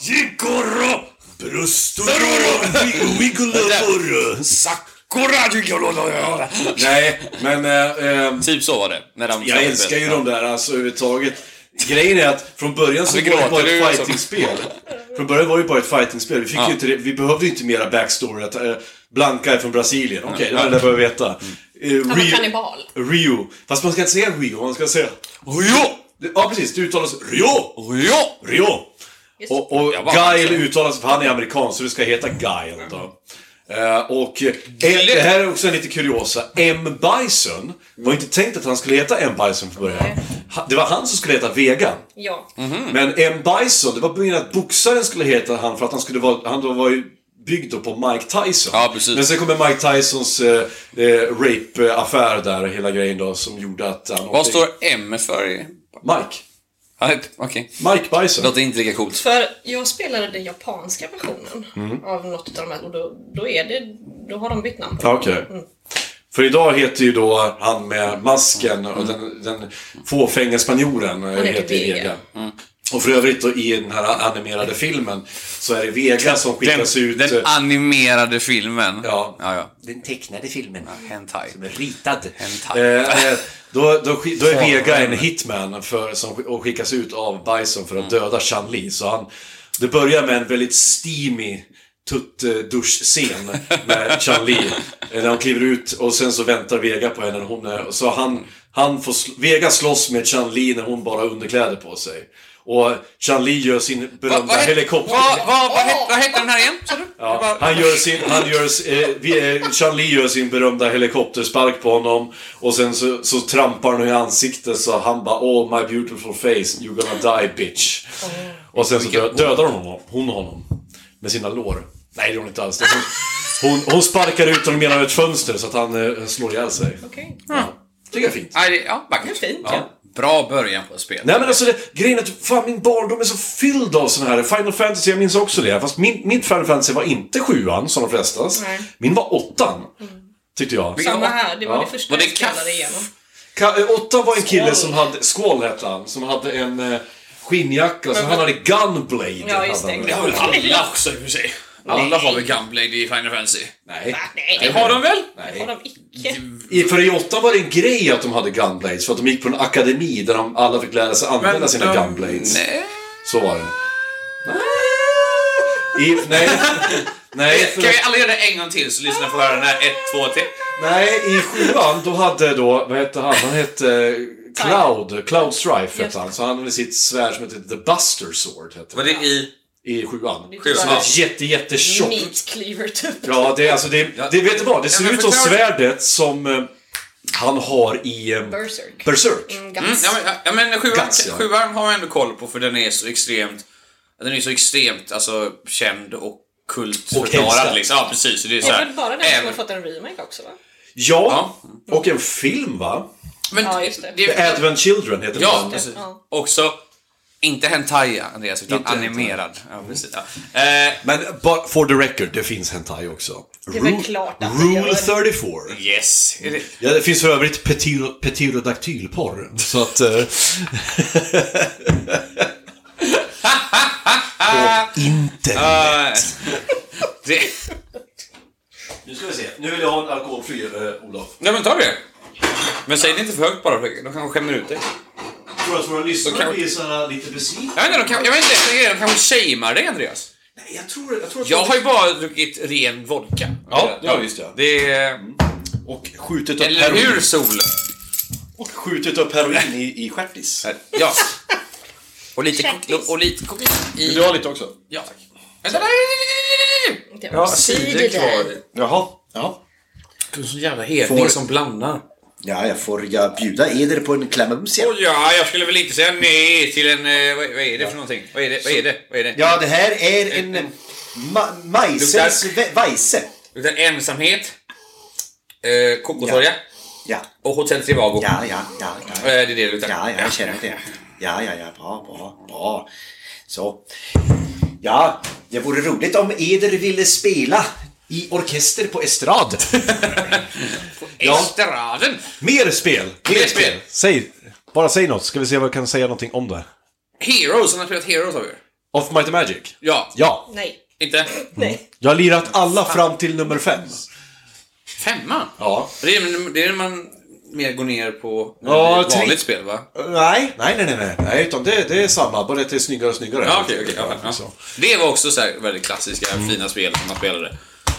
Jigoro! Bröstor! Saroro. Wiggloror! Sakura jigolo! Nej, men... Eh, ehm, Typ så var det. När de Jag älskar ju de där alltså överhuvudtaget. Grejen är att från början så Vi var det gråter bara ju ett alltså. fightingspel. Från början var det bara ett fightingspel. Vi, fick ju inte, det- vi behövde ju inte mera backstory. Att, eh, Blanka är från Brasilien. Okej, det var det där jag behöver Mm. veta. Eh, Han var Rio- kannibal. Rio. Fast man ska inte säga Rio, man ska säga... Rio! Ja, precis. Det uttalas Rio! Rio! Rio! Och, och Jag var- Guile uttalas, för han är amerikan, så det ska heta Guile då. Eh, och eh, det här är också en lite kuriosa. M. Bison var inte tänkt att han skulle heta M. Bison från början. Ha- Det var han som skulle heta Vega. Ja. Mhm. Men M. Bison, det var meningen att boxaren skulle heta han för att han skulle vara, han då var ju byggd då på Mike Tyson. Ja, precis. Men sen kommer Mike Tysons eh, eh, rape-affär där, hela grejen då, som gjorde att han... Vad står M för? i- Mike. Ja, det- Okej. Mike Bison. Låter inte lika coolt. För jag spelade den japanska versionen Mhm. av något av de här och då, då är det, då har de bytt namn på Ja, det. Okej. För idag heter ju då han med masken och den, den fåfänga spanjoren eh, heter heter ju Vega. Vega. Mm. Och för övrigt då, i den här animerade filmen så är det Vega som Den, skickas ut... eh, den animerade filmen. Ja. ja, ja. Den tecknade filmen. Hentai. Som är ritad. Hentai. [laughs] Eh, eh, då, då, sk- då är Vega en hitman för, som, sk- och skickas ut av Bison för Mm. att döda Chan Li. Så han, det börjar med en väldigt steamy tutt-dusch-scen [laughs] med Chan Li. eh, När hon kliver ut och sen så väntar Vega på henne. och Hon är, så Mm. han, han får, sl- Vega slåss med Chan Li när hon bara har underkläder på sig. Och Chan Li gör sin berömda helikopter... Vad va, va, vad het- vad heter den här igen, sa du? Jag bara- Han gör sin, han gör, eh, vi- eh, Chan Li gör sin berömda helikopterspark på honom och sen så, så trampar han i ansiktet så han bara Oh my beautiful face, you're gonna die bitch. Och sen så dö- dödar hon honom, hon honom. Med sina lår. Nej det gör hon inte alls. Det är Hon, hon, hon sparkar ut honom genom ett fönster så att han eh, slår ihjäl sig. Okej. Tycker jag är fint. Mm. Nej, det- ja, Det är vackert. fint ja. Bra början på ett spel. Nej men alltså det, grejen är att fan, min barndom är så fylld av såna här. Final Fantasy, jag minns också det. Fast min, min Final Fantasy var inte sjuan som de flestas. Nej. Mm. Min var åttan. Tyckte jag. Samma här, det var Ja. det första Var det jag spelade kaff? igenom. Ka- eh, Åttan var en kille Skål. som hade, Skål hette han, som hade en eh, skinnjacka. Så han hade Gunblade. Ja, just det. hade han. Det har väl alla också i och för sig. Alla har väl Gunblade i Final Fantasy? Nej. Nej, Har de väl? det har Nej. de icke. I- För i åttan var det en grej att de hade Gunblades. För att de gick på en akademi där de alla fick lära sig använda Men sina de- Gunblades. Nej. Så var det. I, nej. nej, Kan för, vi alla göra det en gång till så lyssna på höra den här ett, två, tre? nej, i sjuan då hade då, vad hette han? Han hette eh, Cloud, Cloud Strife hette han. Så han hade sitt svärd som hette The Buster Sword. Hette Var det. det i i sjuan. Sjuan. Som ett jätte, jätte tjockt... Meat cleaver typ. Ja, det är alltså... Det, det vet du vad? Det ser men ut som förklara- svärdet som eh, han har i... Eh, Berserk. Berserk. Mm, Guts. ja, men, ja, men sjuan, Guts, ja. sjuan har man ändå koll på för den är så extremt den är så extremt alltså, känd och kultförklarad. älskad. Liksom. Ja, precis. Det är, så Det här, är väl bara den som har även- fått en remake också va? Ja, och en film va? Men, Ja, just det. The Advent Children heter Ja, den. precis. Ja. Också, inte hentai Andreas, utan Inte hentai. animerad. Ja, precis, ja. Eh, Men bara for the record, det finns hentai också. Det är väl Rule- klart att det Rule gör. 34. yes. Är det- Ja, det finns för övrigt petiro- pterodactylporr. Så att... eh, [laughs] På internet. Eh, det, Ah. Nu ska vi se. Nu vill jag ha en alkoholfri, eh, Olof. nej men ta det. Men säg det inte för högt bara, för de kanske skämmer ut dig. Jag tror att våra Då lyssnare kan- blir såhär lite besvikna. Jag vet inte, de, kan, jag vet inte, grejen är, de kanske shamear dig Andreas. Nej, Jag tror, jag tror att Jag har ju bara druckit ren vodka. Ja, ja, visst, ja. Det är... Och skjutit upp Eller heroin. hur Sol? Och skjutit upp heroin i, i stjärtis. Ja. Och lite, Kändis. och lite kokain i... ha lite också? Ja, tack. Vänta, nej, nej, nej, nej, nej! Det var Jag har cider cider där. kvar. Jaha. Ja. Du är så jävla hedning Får- som blandar. ja, jag får jag bjuda eder på en klamamsia. Och ja, jag skulle väl inte säga nej till en... eh, Vad, vad är det för någonting? Vad är det? Vad är det? Vad är det? Ja, det här är en eh, ma majsens ve- vajse. Utan ensamhet, eh, kokosolja Ja, och Hotel Trivago. ja, ja, ja. Eh, det ja. är det det luktar. Ja, ja, jag känner det. Ja, ja, ja, bra, bra, bra. Så. Ja, det vore roligt om Eder ville spela i orkester på estrad. Ja. Estraden! [laughs] Mer spel! Mer spel. Säg, bara säg något, ska vi se vad jag kan säga någonting om det. Heroes, han har spelat Heroes har vi Of Might and Magic? Ja. Ja. Nej. Inte? Nej. Jag har lirat alla fram till nummer fem. Femman? Ja. Det är, det är när man mer går ner på Ja, vanligt tre- spel va? Nej, nej, nej, nej, nej, nej utan det, det är samma, bara att det är snyggare och snyggare. Ja, okej, okej. ja, ja. Så. Det var också så här väldigt klassiska, fina spel som man spelade.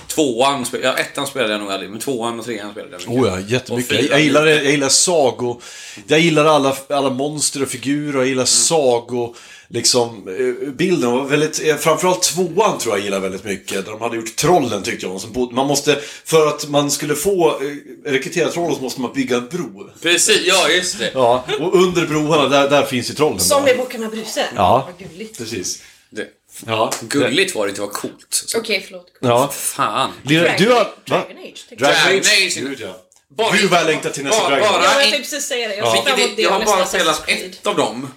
Tvåan, spe- ja, ettan spelade jag nog aldrig, men tvåan och trean spelade jag mycket. Oh ja, Och jättemycket. Jag, fyran jag gillar, lite. jag gillar sago... Jag gillar alla, alla monster och figurer, jag gillar sago... Liksom, eh, bilden var väldigt... eh, Framförallt tvåan tror jag gillar väldigt mycket. Där de hade gjort trollen tyckte jag. Som bodde, man måste... För att man skulle få eh, rekrytera trollen så måste man bygga en bro. Precis, ja just det. Ja, och under broarna, där, där finns ju trollen. Som då. i Boken med Bruse. Ja. Vad gulligt. Okej, Precis. det. Ja. Gulligt var det inte, var coolt. Så, förlåt. Ja. Fan. Lilla, du har... Va? Dragon Age. tänkte jag. Dragon Dragon Age? Age. Gud ja. Bara- Hur väl längtar till nästa bara- Dragon bara- Age? Ja, jag in- tänkte precis säga det. Jag ser fram Vilket emot det, det jag har nästa bara Assassin's spelat Creed. ett av dem.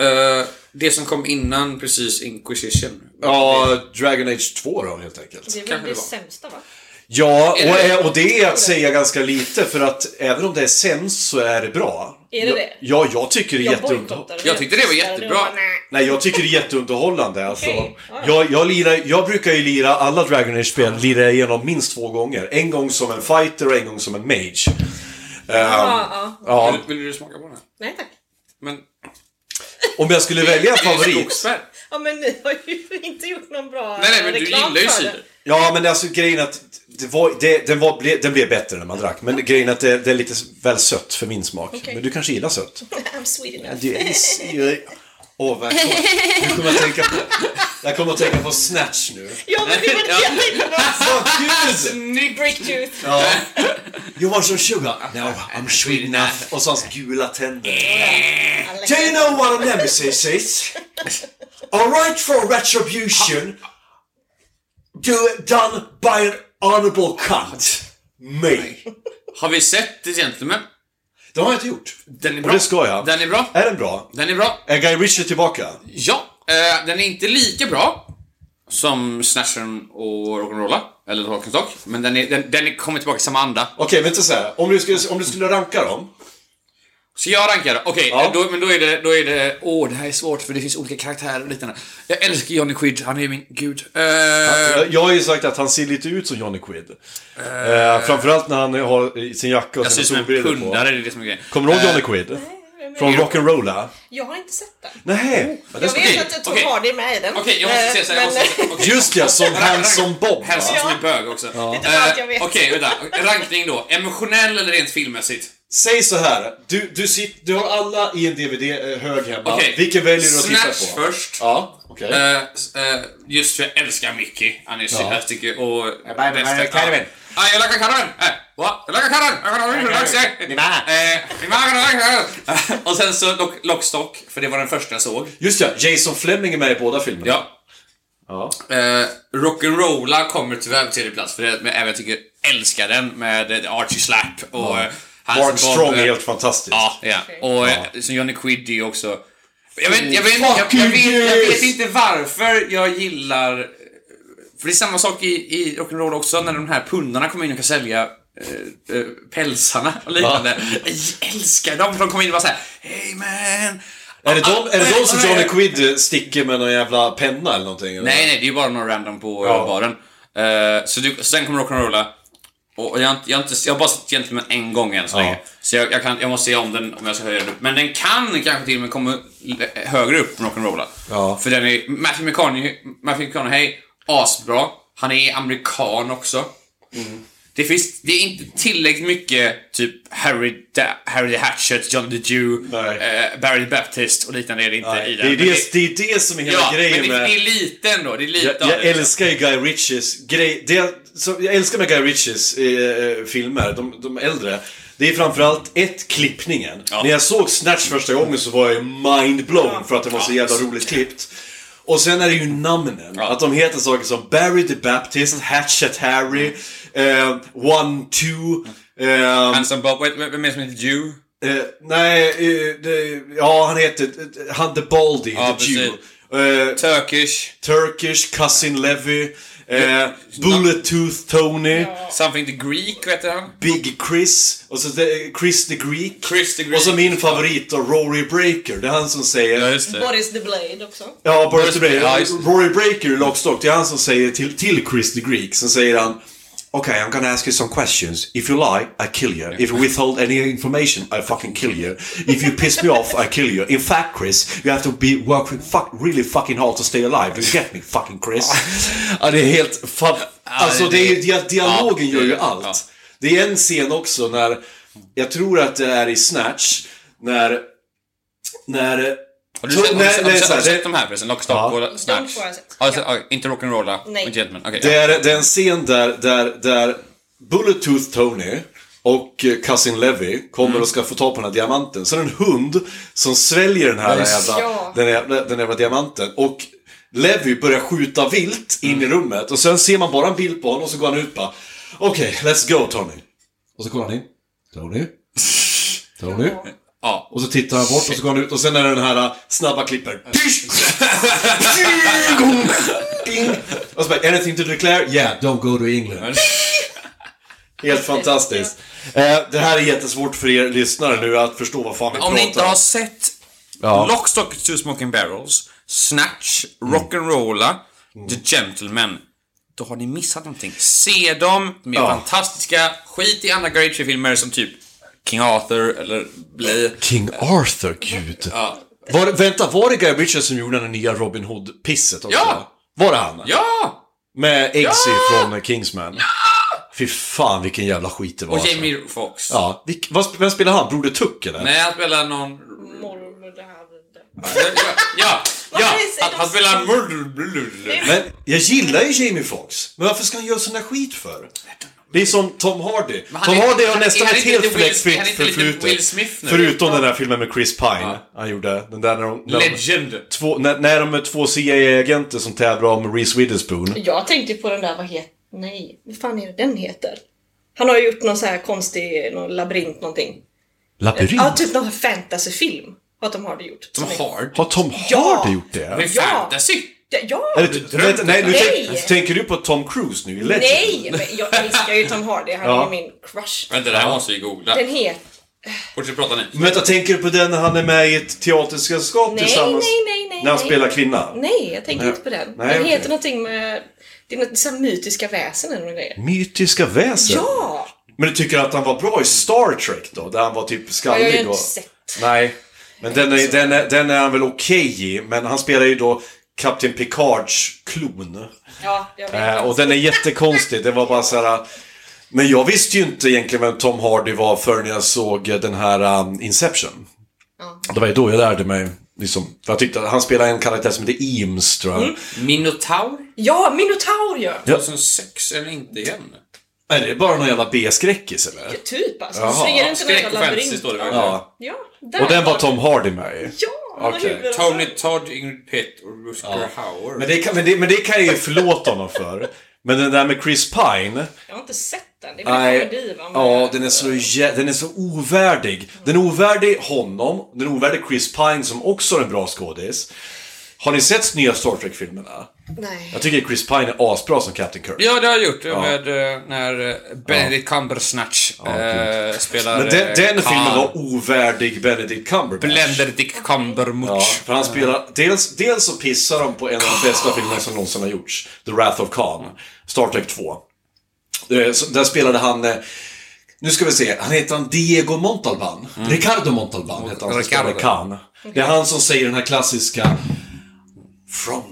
Mm. Eh, det som kom innan precis Inquisition. Ja, Dragon Age 2 då helt enkelt. Det är väl Kanske det det var. sämsta va? Ja, Är det- och, och det är att säga ganska lite för att även om det är sämst så är det bra. Är det det? Ja, jag tycker det är Jag jätteunderhållande. bojkottar. Jag tyckte det var jättebra. Bara, nej. Nej, jag tycker det är jätteunderhållande. Alltså, Okej, ja. jag, jag, lirar, jag brukar ju lira alla Dragon Age-spel, lirar jag igenom minst två gånger. En gång som en fighter och en gång som en mage. Ja, ja. Ja, Vill, vill du smaka på den här? Nej tack. Men, om jag skulle välja en favorit. Skogsbär. Ja men ni har ju [laughs] inte gjort någon bra Nej, nej, men du reklam gillar ju för det. cider. Ja, men alltså grejen att det var, det, den, var, ble, den blev bättre när man drack. Men grejen att det, det är lite väl sött för min smak. Okej. Men du kanske gillar sött? [laughs] I'm sweet enough. Det är is- Åh, vad jag kommer- jag kommer att tänka på... Jag kommer att tänka på Snatch nu. Ja men det var det jag tänkte på. [laughs] Åh, gud! Snygg! Breaktooth. Ja. You want some sugar? No, I'm sweet enough. Och så hans gula tänder. Do you know what a nemesis is? A right for retribution do done by an honorable cunt. Me. Har vi sett The Gentlemen? Det har jag inte gjort. Den är Och bra. det ska jag. Den är bra. Är den bra? Den är bra. Är Guy Ritchie tillbaka? Ja, eh, den är inte lika bra som Snatchen och Rock'n'Rolla, eller Talking Stock, men den, är, den, den kommer tillbaka i samma anda. Okej, vänta så här. Om du skulle, om du skulle ranka dem. Så jag rankar, okej, Ja. eh, då, men då är det, då är det, åh det här är svårt för det finns olika karaktärer och liknande. Jag älskar Johnny Quid, han är ju min gud. Eh, Jag- Jag har ju sagt att han ser lite ut som Johnny Quid. Eh, framförallt när han har i sin jacka och jag ser sina ut som en solbrillor på. pundare, Eh. det är det som är grejen. Kommer du ihåg Johnny Quid? Från Rock'n'Rolla? Jag har inte sett den. Oh. Nej. Ja, det Jag ska- vet okej, att Tom okej. Hardy är med i den. Okej, jag måste Eh, säga såhär, jag måste [laughs] men- säga okej. Just ja, [laughs] som Handsome Bob. va? Handsome som är bög också. Lite allt jag Eh, vet. Okej, vänta. Rankning då. Emotionell eller rent filmmässigt? Säg så här. Du, du, sit, du har alla i en DVD-hög eh, hemma. Okej. Vilken väljer du att titta på? Snatch först. Ja, okej. Eh, s- eh, just för jag älskar Mickey. Han är så Ja. jag tycker och... Jag bara- bästa- jag bara- Karin. Ja, jag lackar Karin! Eh, va? Jag lackar Karin! Jag kan inte laxa! Ni bara. Ni bara! kan laxa. [laughs] Och sen så Lock- Lockstock, för det var den första jag såg. Just ja, Jason Fleming är med i båda filmerna. Ja. Ja. Eh, Rock'n'Rolla kommer tyvärr på tredje plats, för det, men även jag tycker älskar den med eh, Archie Slap och... eh, Ja. Mark Strong är helt fantastisk. eh. Ja, ja. Och eh, så Johnny Quid är ju också... Jag vet, jag, vet, Fuck jag, jag, vet, you, jag vet yes! inte varför jag gillar... eh, För det är samma sak i, i rock'n'roll också, när de här pundarna kommer in och kan sälja eh, eh, pälsarna och liknande. Jag älskar dem, för de kommer in och bara såhär Hey man! Är det Ah, de, är det de som Johnny Quid eh, sticker med någon jävla penna eller någonting? eller? Nej, nej, det är ju bara någon random på Ja. ja. baren. Eh, så du, sen kommer rock'n'rolla. Och jag, har inte- jag, har inte, jag har bara sett Gentlemen en gång än så Ja. länge. Så jag, jag, kan, jag måste se om den om jag ska höja den upp. Men den kan kanske till och med komma l- högre upp än rock'n'rolla. Ja. För den är... Matthew McConaughey, Matthew McConaughey asbra. Han är amerikan också. Mm. Det finns... Det är inte tillräckligt mycket typ Harry, da, Harry the Hatchet, John the Jew, Nej. eh, Barry the Baptist och liknande är det inte Nej, i det, den. är Men det, det är det som är hela ja, grejen men det, med... det är lite ändå. Det är lite Jag, av jag det, liksom. älskar ju Guy Ritchies grej. Det som jag älskar med Guy Ritchies eh, filmer, de, de äldre, det är framförallt ett, klippningen. Ja. När jag såg Snatch första gången så var jag ju mindblown för att det var så Ja. jävla roligt klippt. Och sen är det ju namnen. Ja. Att de heter saker som Barry the Baptist, Hatchet Harry, eh, One Two, ehm, Handsome Bob, wait, vem är det som heter Jew? Eh, nej, eh, det, ja han heter, eh, han the Baldy, Ja, the precis. Jew. Eh, Turkish, Turkish, Cousin Levy, eh, Bullet Tooth Tony, something the Greek, vet du han? Big Chris, och så det- Chris the Greek. Chris the Greek. Och så min favorit då, Rory Breaker. Det är han som säger... just det. Boris the Blade också. Ja, Boris the Breaker. Ja, just det. Rory Breaker i Lockstock, det är han som säger till, till Chris the Greek, så säger han Okay, I'm gonna ask you some questions. If you lie, I kill you. If you withhold any information, I fucking kill you. If you piss me off, I kill you. In fact, Chris, you have to be working fuck, really fucking hard to stay alive. You get me, fucking Chris? ja, det är helt... Fan, alltså, det- det är ju, dia- dialogen Ja, gör ju det- allt. ja. Det är en scen också när, jag tror att det är i Snatch, när... När... Har du sett, har du Nej, sett, har nej, du sett, så har här, du sett de här förresten? Lockstock Ja. och Snatch? De får jag sett. Har du sett? Ja, inte Rock'n'Rolla Nej. och Gentlemen? Okej. [laughs] Det ja. är, det är en scen där, där, där Bullet Tooth Tony och eh, Cousin Levy kommer och ska få ta på den här diamanten. Så är det en hund som sväljer den här jävla, Ja. den jävla, den jävla diamanten. Och Levy börjar skjuta vilt in i rummet och sen ser man bara en bild på honom och så går han ut bara Okej, let's go Tony. Och så kollar han in. Tony. Tony. Ja. Och så tittar han bort och så går han ut och sen är det den här äh, snabba klippen. Pysch! Ding! Och så bara, anything to declare? Yeah, don't go to England. Helt fantastiskt. Eh, det här är jättesvårt för er lyssnare nu att förstå vad fan vi Om ni inte pratar har om. sett Ja. Lockstock, Two Smoking Barrels, Snatch, Rock'n'Rolla, Mm. The Gentlemen. Då har ni missat någonting. Se dem, de är Ja. fantastiska. Skit i andra Great filmer som typ King Arthur eller Bli. King Arthur, gud. Var, det- vänta, var det Guy Ritchie som gjorde den nya Robin Hood-pisset också? Ja. Var det han? Ja! Med Eggsy från Kingsman. Fy fan vilken jävla skit det var. Och alltså. Jamie Foxx. Ja, vilk, vad, sp- vem spelar han? Broder Tuck eller? Nej, han spelar någon Mormor det här. det där. ja, ja, ja. precis, Att de- han spelar murder... Men jag gillar ju Jamie Foxx, men varför ska han göra sån där skit för? Det är som Tom Hardy. han Tom är- Hardy har han- nästan är han ett inte helt lite Will- är fläckfritt han inte lite Will förflutet. Smith nu? Förutom den där filmen med Chris Pine han gjorde. Den där när de... När de Legend. två, när, när de är två CIA-agenter som tävlar om Reese Witherspoon. Jag tänkte på den där, vad heter... Nej, vad fan är det den heter? Han har ju gjort någon så här konstig någon labyrint någonting. Labyrint? Ja, typ någon fantasyfilm. Vad de har det gjort. Som hard. Har Tom Hardy Ja. gjort Det är det? Ja. fantasy. Ja, Ja! Eller, vänta, nej, nu Nej. tänk, tänker du på Tom Cruise nu i Legend? Nej! Men jag älskar ju Tom Hardy, han Ja. är ju min crush. Vänta, det här måste vi googla. Den heter... Fortsätt prata ni. Men vänta, tänker du på den när han är med i ett teatersällskap Nej, tillsammans? nej, nej, nej, När han nej. spelar kvinna? Nej, jag tänker Nej. inte på den. Nej, den okej. heter någonting med... Det är något så här mytiska väsen eller något Mm. grejer. Mytiska väsen? Ja! Men du tycker att han var bra i Star Trek då? Där han var typ Jag har ju skallig inte då? sett. Nej. Men den är, den, är, den är han väl okej i, men han spelar ju då Kapten Picards klon. Ja, jag vet. Eh, och den är jättekonstig. Det var bara så här. Men jag visste ju inte egentligen vem Tom Hardy var förrän jag såg eh, den här um, Inception. Det var ju då jag lärde mig. Liksom, för jag tyckte att han spelade en karaktär som heter Eames, tror jag. Mm. Minotaur? Ja, Minotaur ja! 2006 eller inte igen? Är det bara någon jävla B-skräckis eller? Typ alltså. Jaha. Jaha, springer inte Skräck med och en fantasy står det labyrint. verkligen. Ja. Ja, där Och den var det. Tom Hardy med i. Ja, han har Okej. huvud alltså. Tony Todd, Ingrid Pitt och Rutger Hauer. Men det, kan, men, det, men det kan jag ju förlåta honom för. Men den där med Chris Pine. Jag har inte sett den. Det är väl en Nej, komedi va? Men- ja, den är, så, jä- den är så ovärdig. Den är ovärdig honom, den är ovärdig Chris Pine som också är en bra skådis. Har ni sett nya Star Trek-filmerna? Nej. Jag tycker Chris Pine är asbra som Captain Kirk. Ja, det har jag gjort. Med eh, när eh, Benedict Cumbersnatch eh, spelar... Men den, eh, den filmen Khan. var ovärdig Benedict Cumberbatch. Blender Dick Ja, Cumbermutch. för han spelar, dels, dels så pissar de på en av de bästa filmerna som någonsin har gjorts. The Wrath of Khan. Star Trek 2. Eh, så Där spelade han, eh, nu ska vi se, han heter han Diego Montalban. Ricardo Montalban heter han som Mm. Ricardo. spelar Khan. Det är han som säger den här klassiska From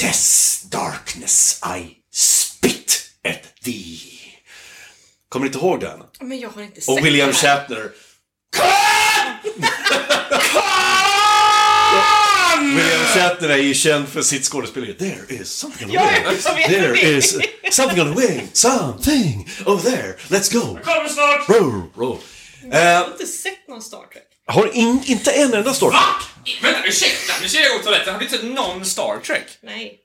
this darkness I spit at thee. Kommer ni inte ihåg den? Men jag har inte sett Och William den. Shatner. Khan! William Shatner är ju känd för sitt skådespeleri. There is something on the jag way. vet, jag vet There det. is something on the way. Something over there. Let's go. Kommer snart! Roll, roll. Jag har inte sett någon Star Trek. Har in, inte en enda Star Trek. Vänta, ursäkta! Nu ska jag gå på toaletten. Har du inte sett någon Star Trek? Nej.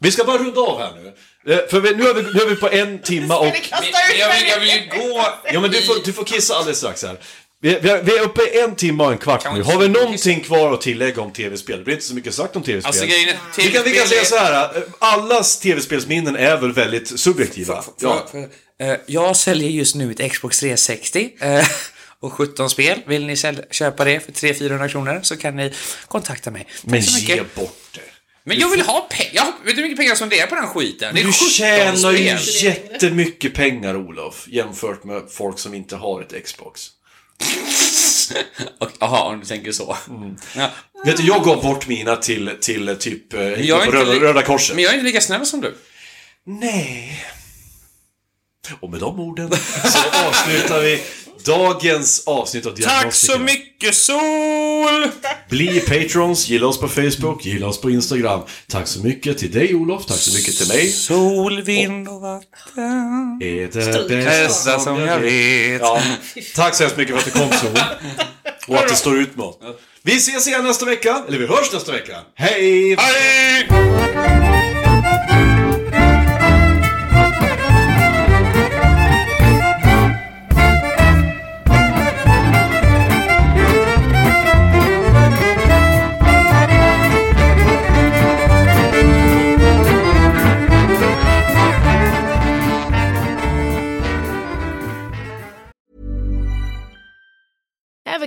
Vi ska bara runda av här nu. Eh, För vi, nu, är vi, nu är vi på [laughs] en timma och... Men Jag vill, jag vill ju gå... Ja men du får, du får kissa alldeles strax här. Vi, vi, är, vi är uppe i en timme och en kvart nu. Har vi någonting kvar att tillägga om tv-spel? Det blir inte så mycket sagt om tv-spel. Alltså grejen är... Vi kan, vi kan säga så här. eh, Allas tv-spelsminnen är väl väldigt subjektiva. Ja. eh, jag säljer just nu ett Xbox 360 eh, och 17 spel. Vill ni säl- köpa det för 300-400 kronor så kan ni kontakta mig. Tack Men så mycket. ge bort det. Men jag vill ha pengar. Vet du hur mycket pengar som det är på den skiten? Det är Du 17 tjänar ju spel. jättemycket pengar Olof, jämfört med folk som inte har ett Xbox. Och- Jaha, om du tänker så. Mm. Ja. Vet du, jag gav bort mina till, till eh, typ eh, jag är på inte Röda, li- Röda Korset. Men jag är inte lika snäll som du. Nej. Och med de orden så avslutar vi dagens avsnitt av Tack så Diagnostikerna. mycket sol! Bli patrons, gilla oss på Facebook, gilla oss på Instagram. Tack så mycket till dig Olof, tack så mycket till mig. Sol, vind och vatten. Är Stryk. det bästa Bästa som jag [laughs] vet. Ja. Tack så hemskt mycket för att du kom Sol. Och att du står ut med oss. Vi ses igen nästa vecka, eller vi hörs nästa vecka. Hej! Hej! Ever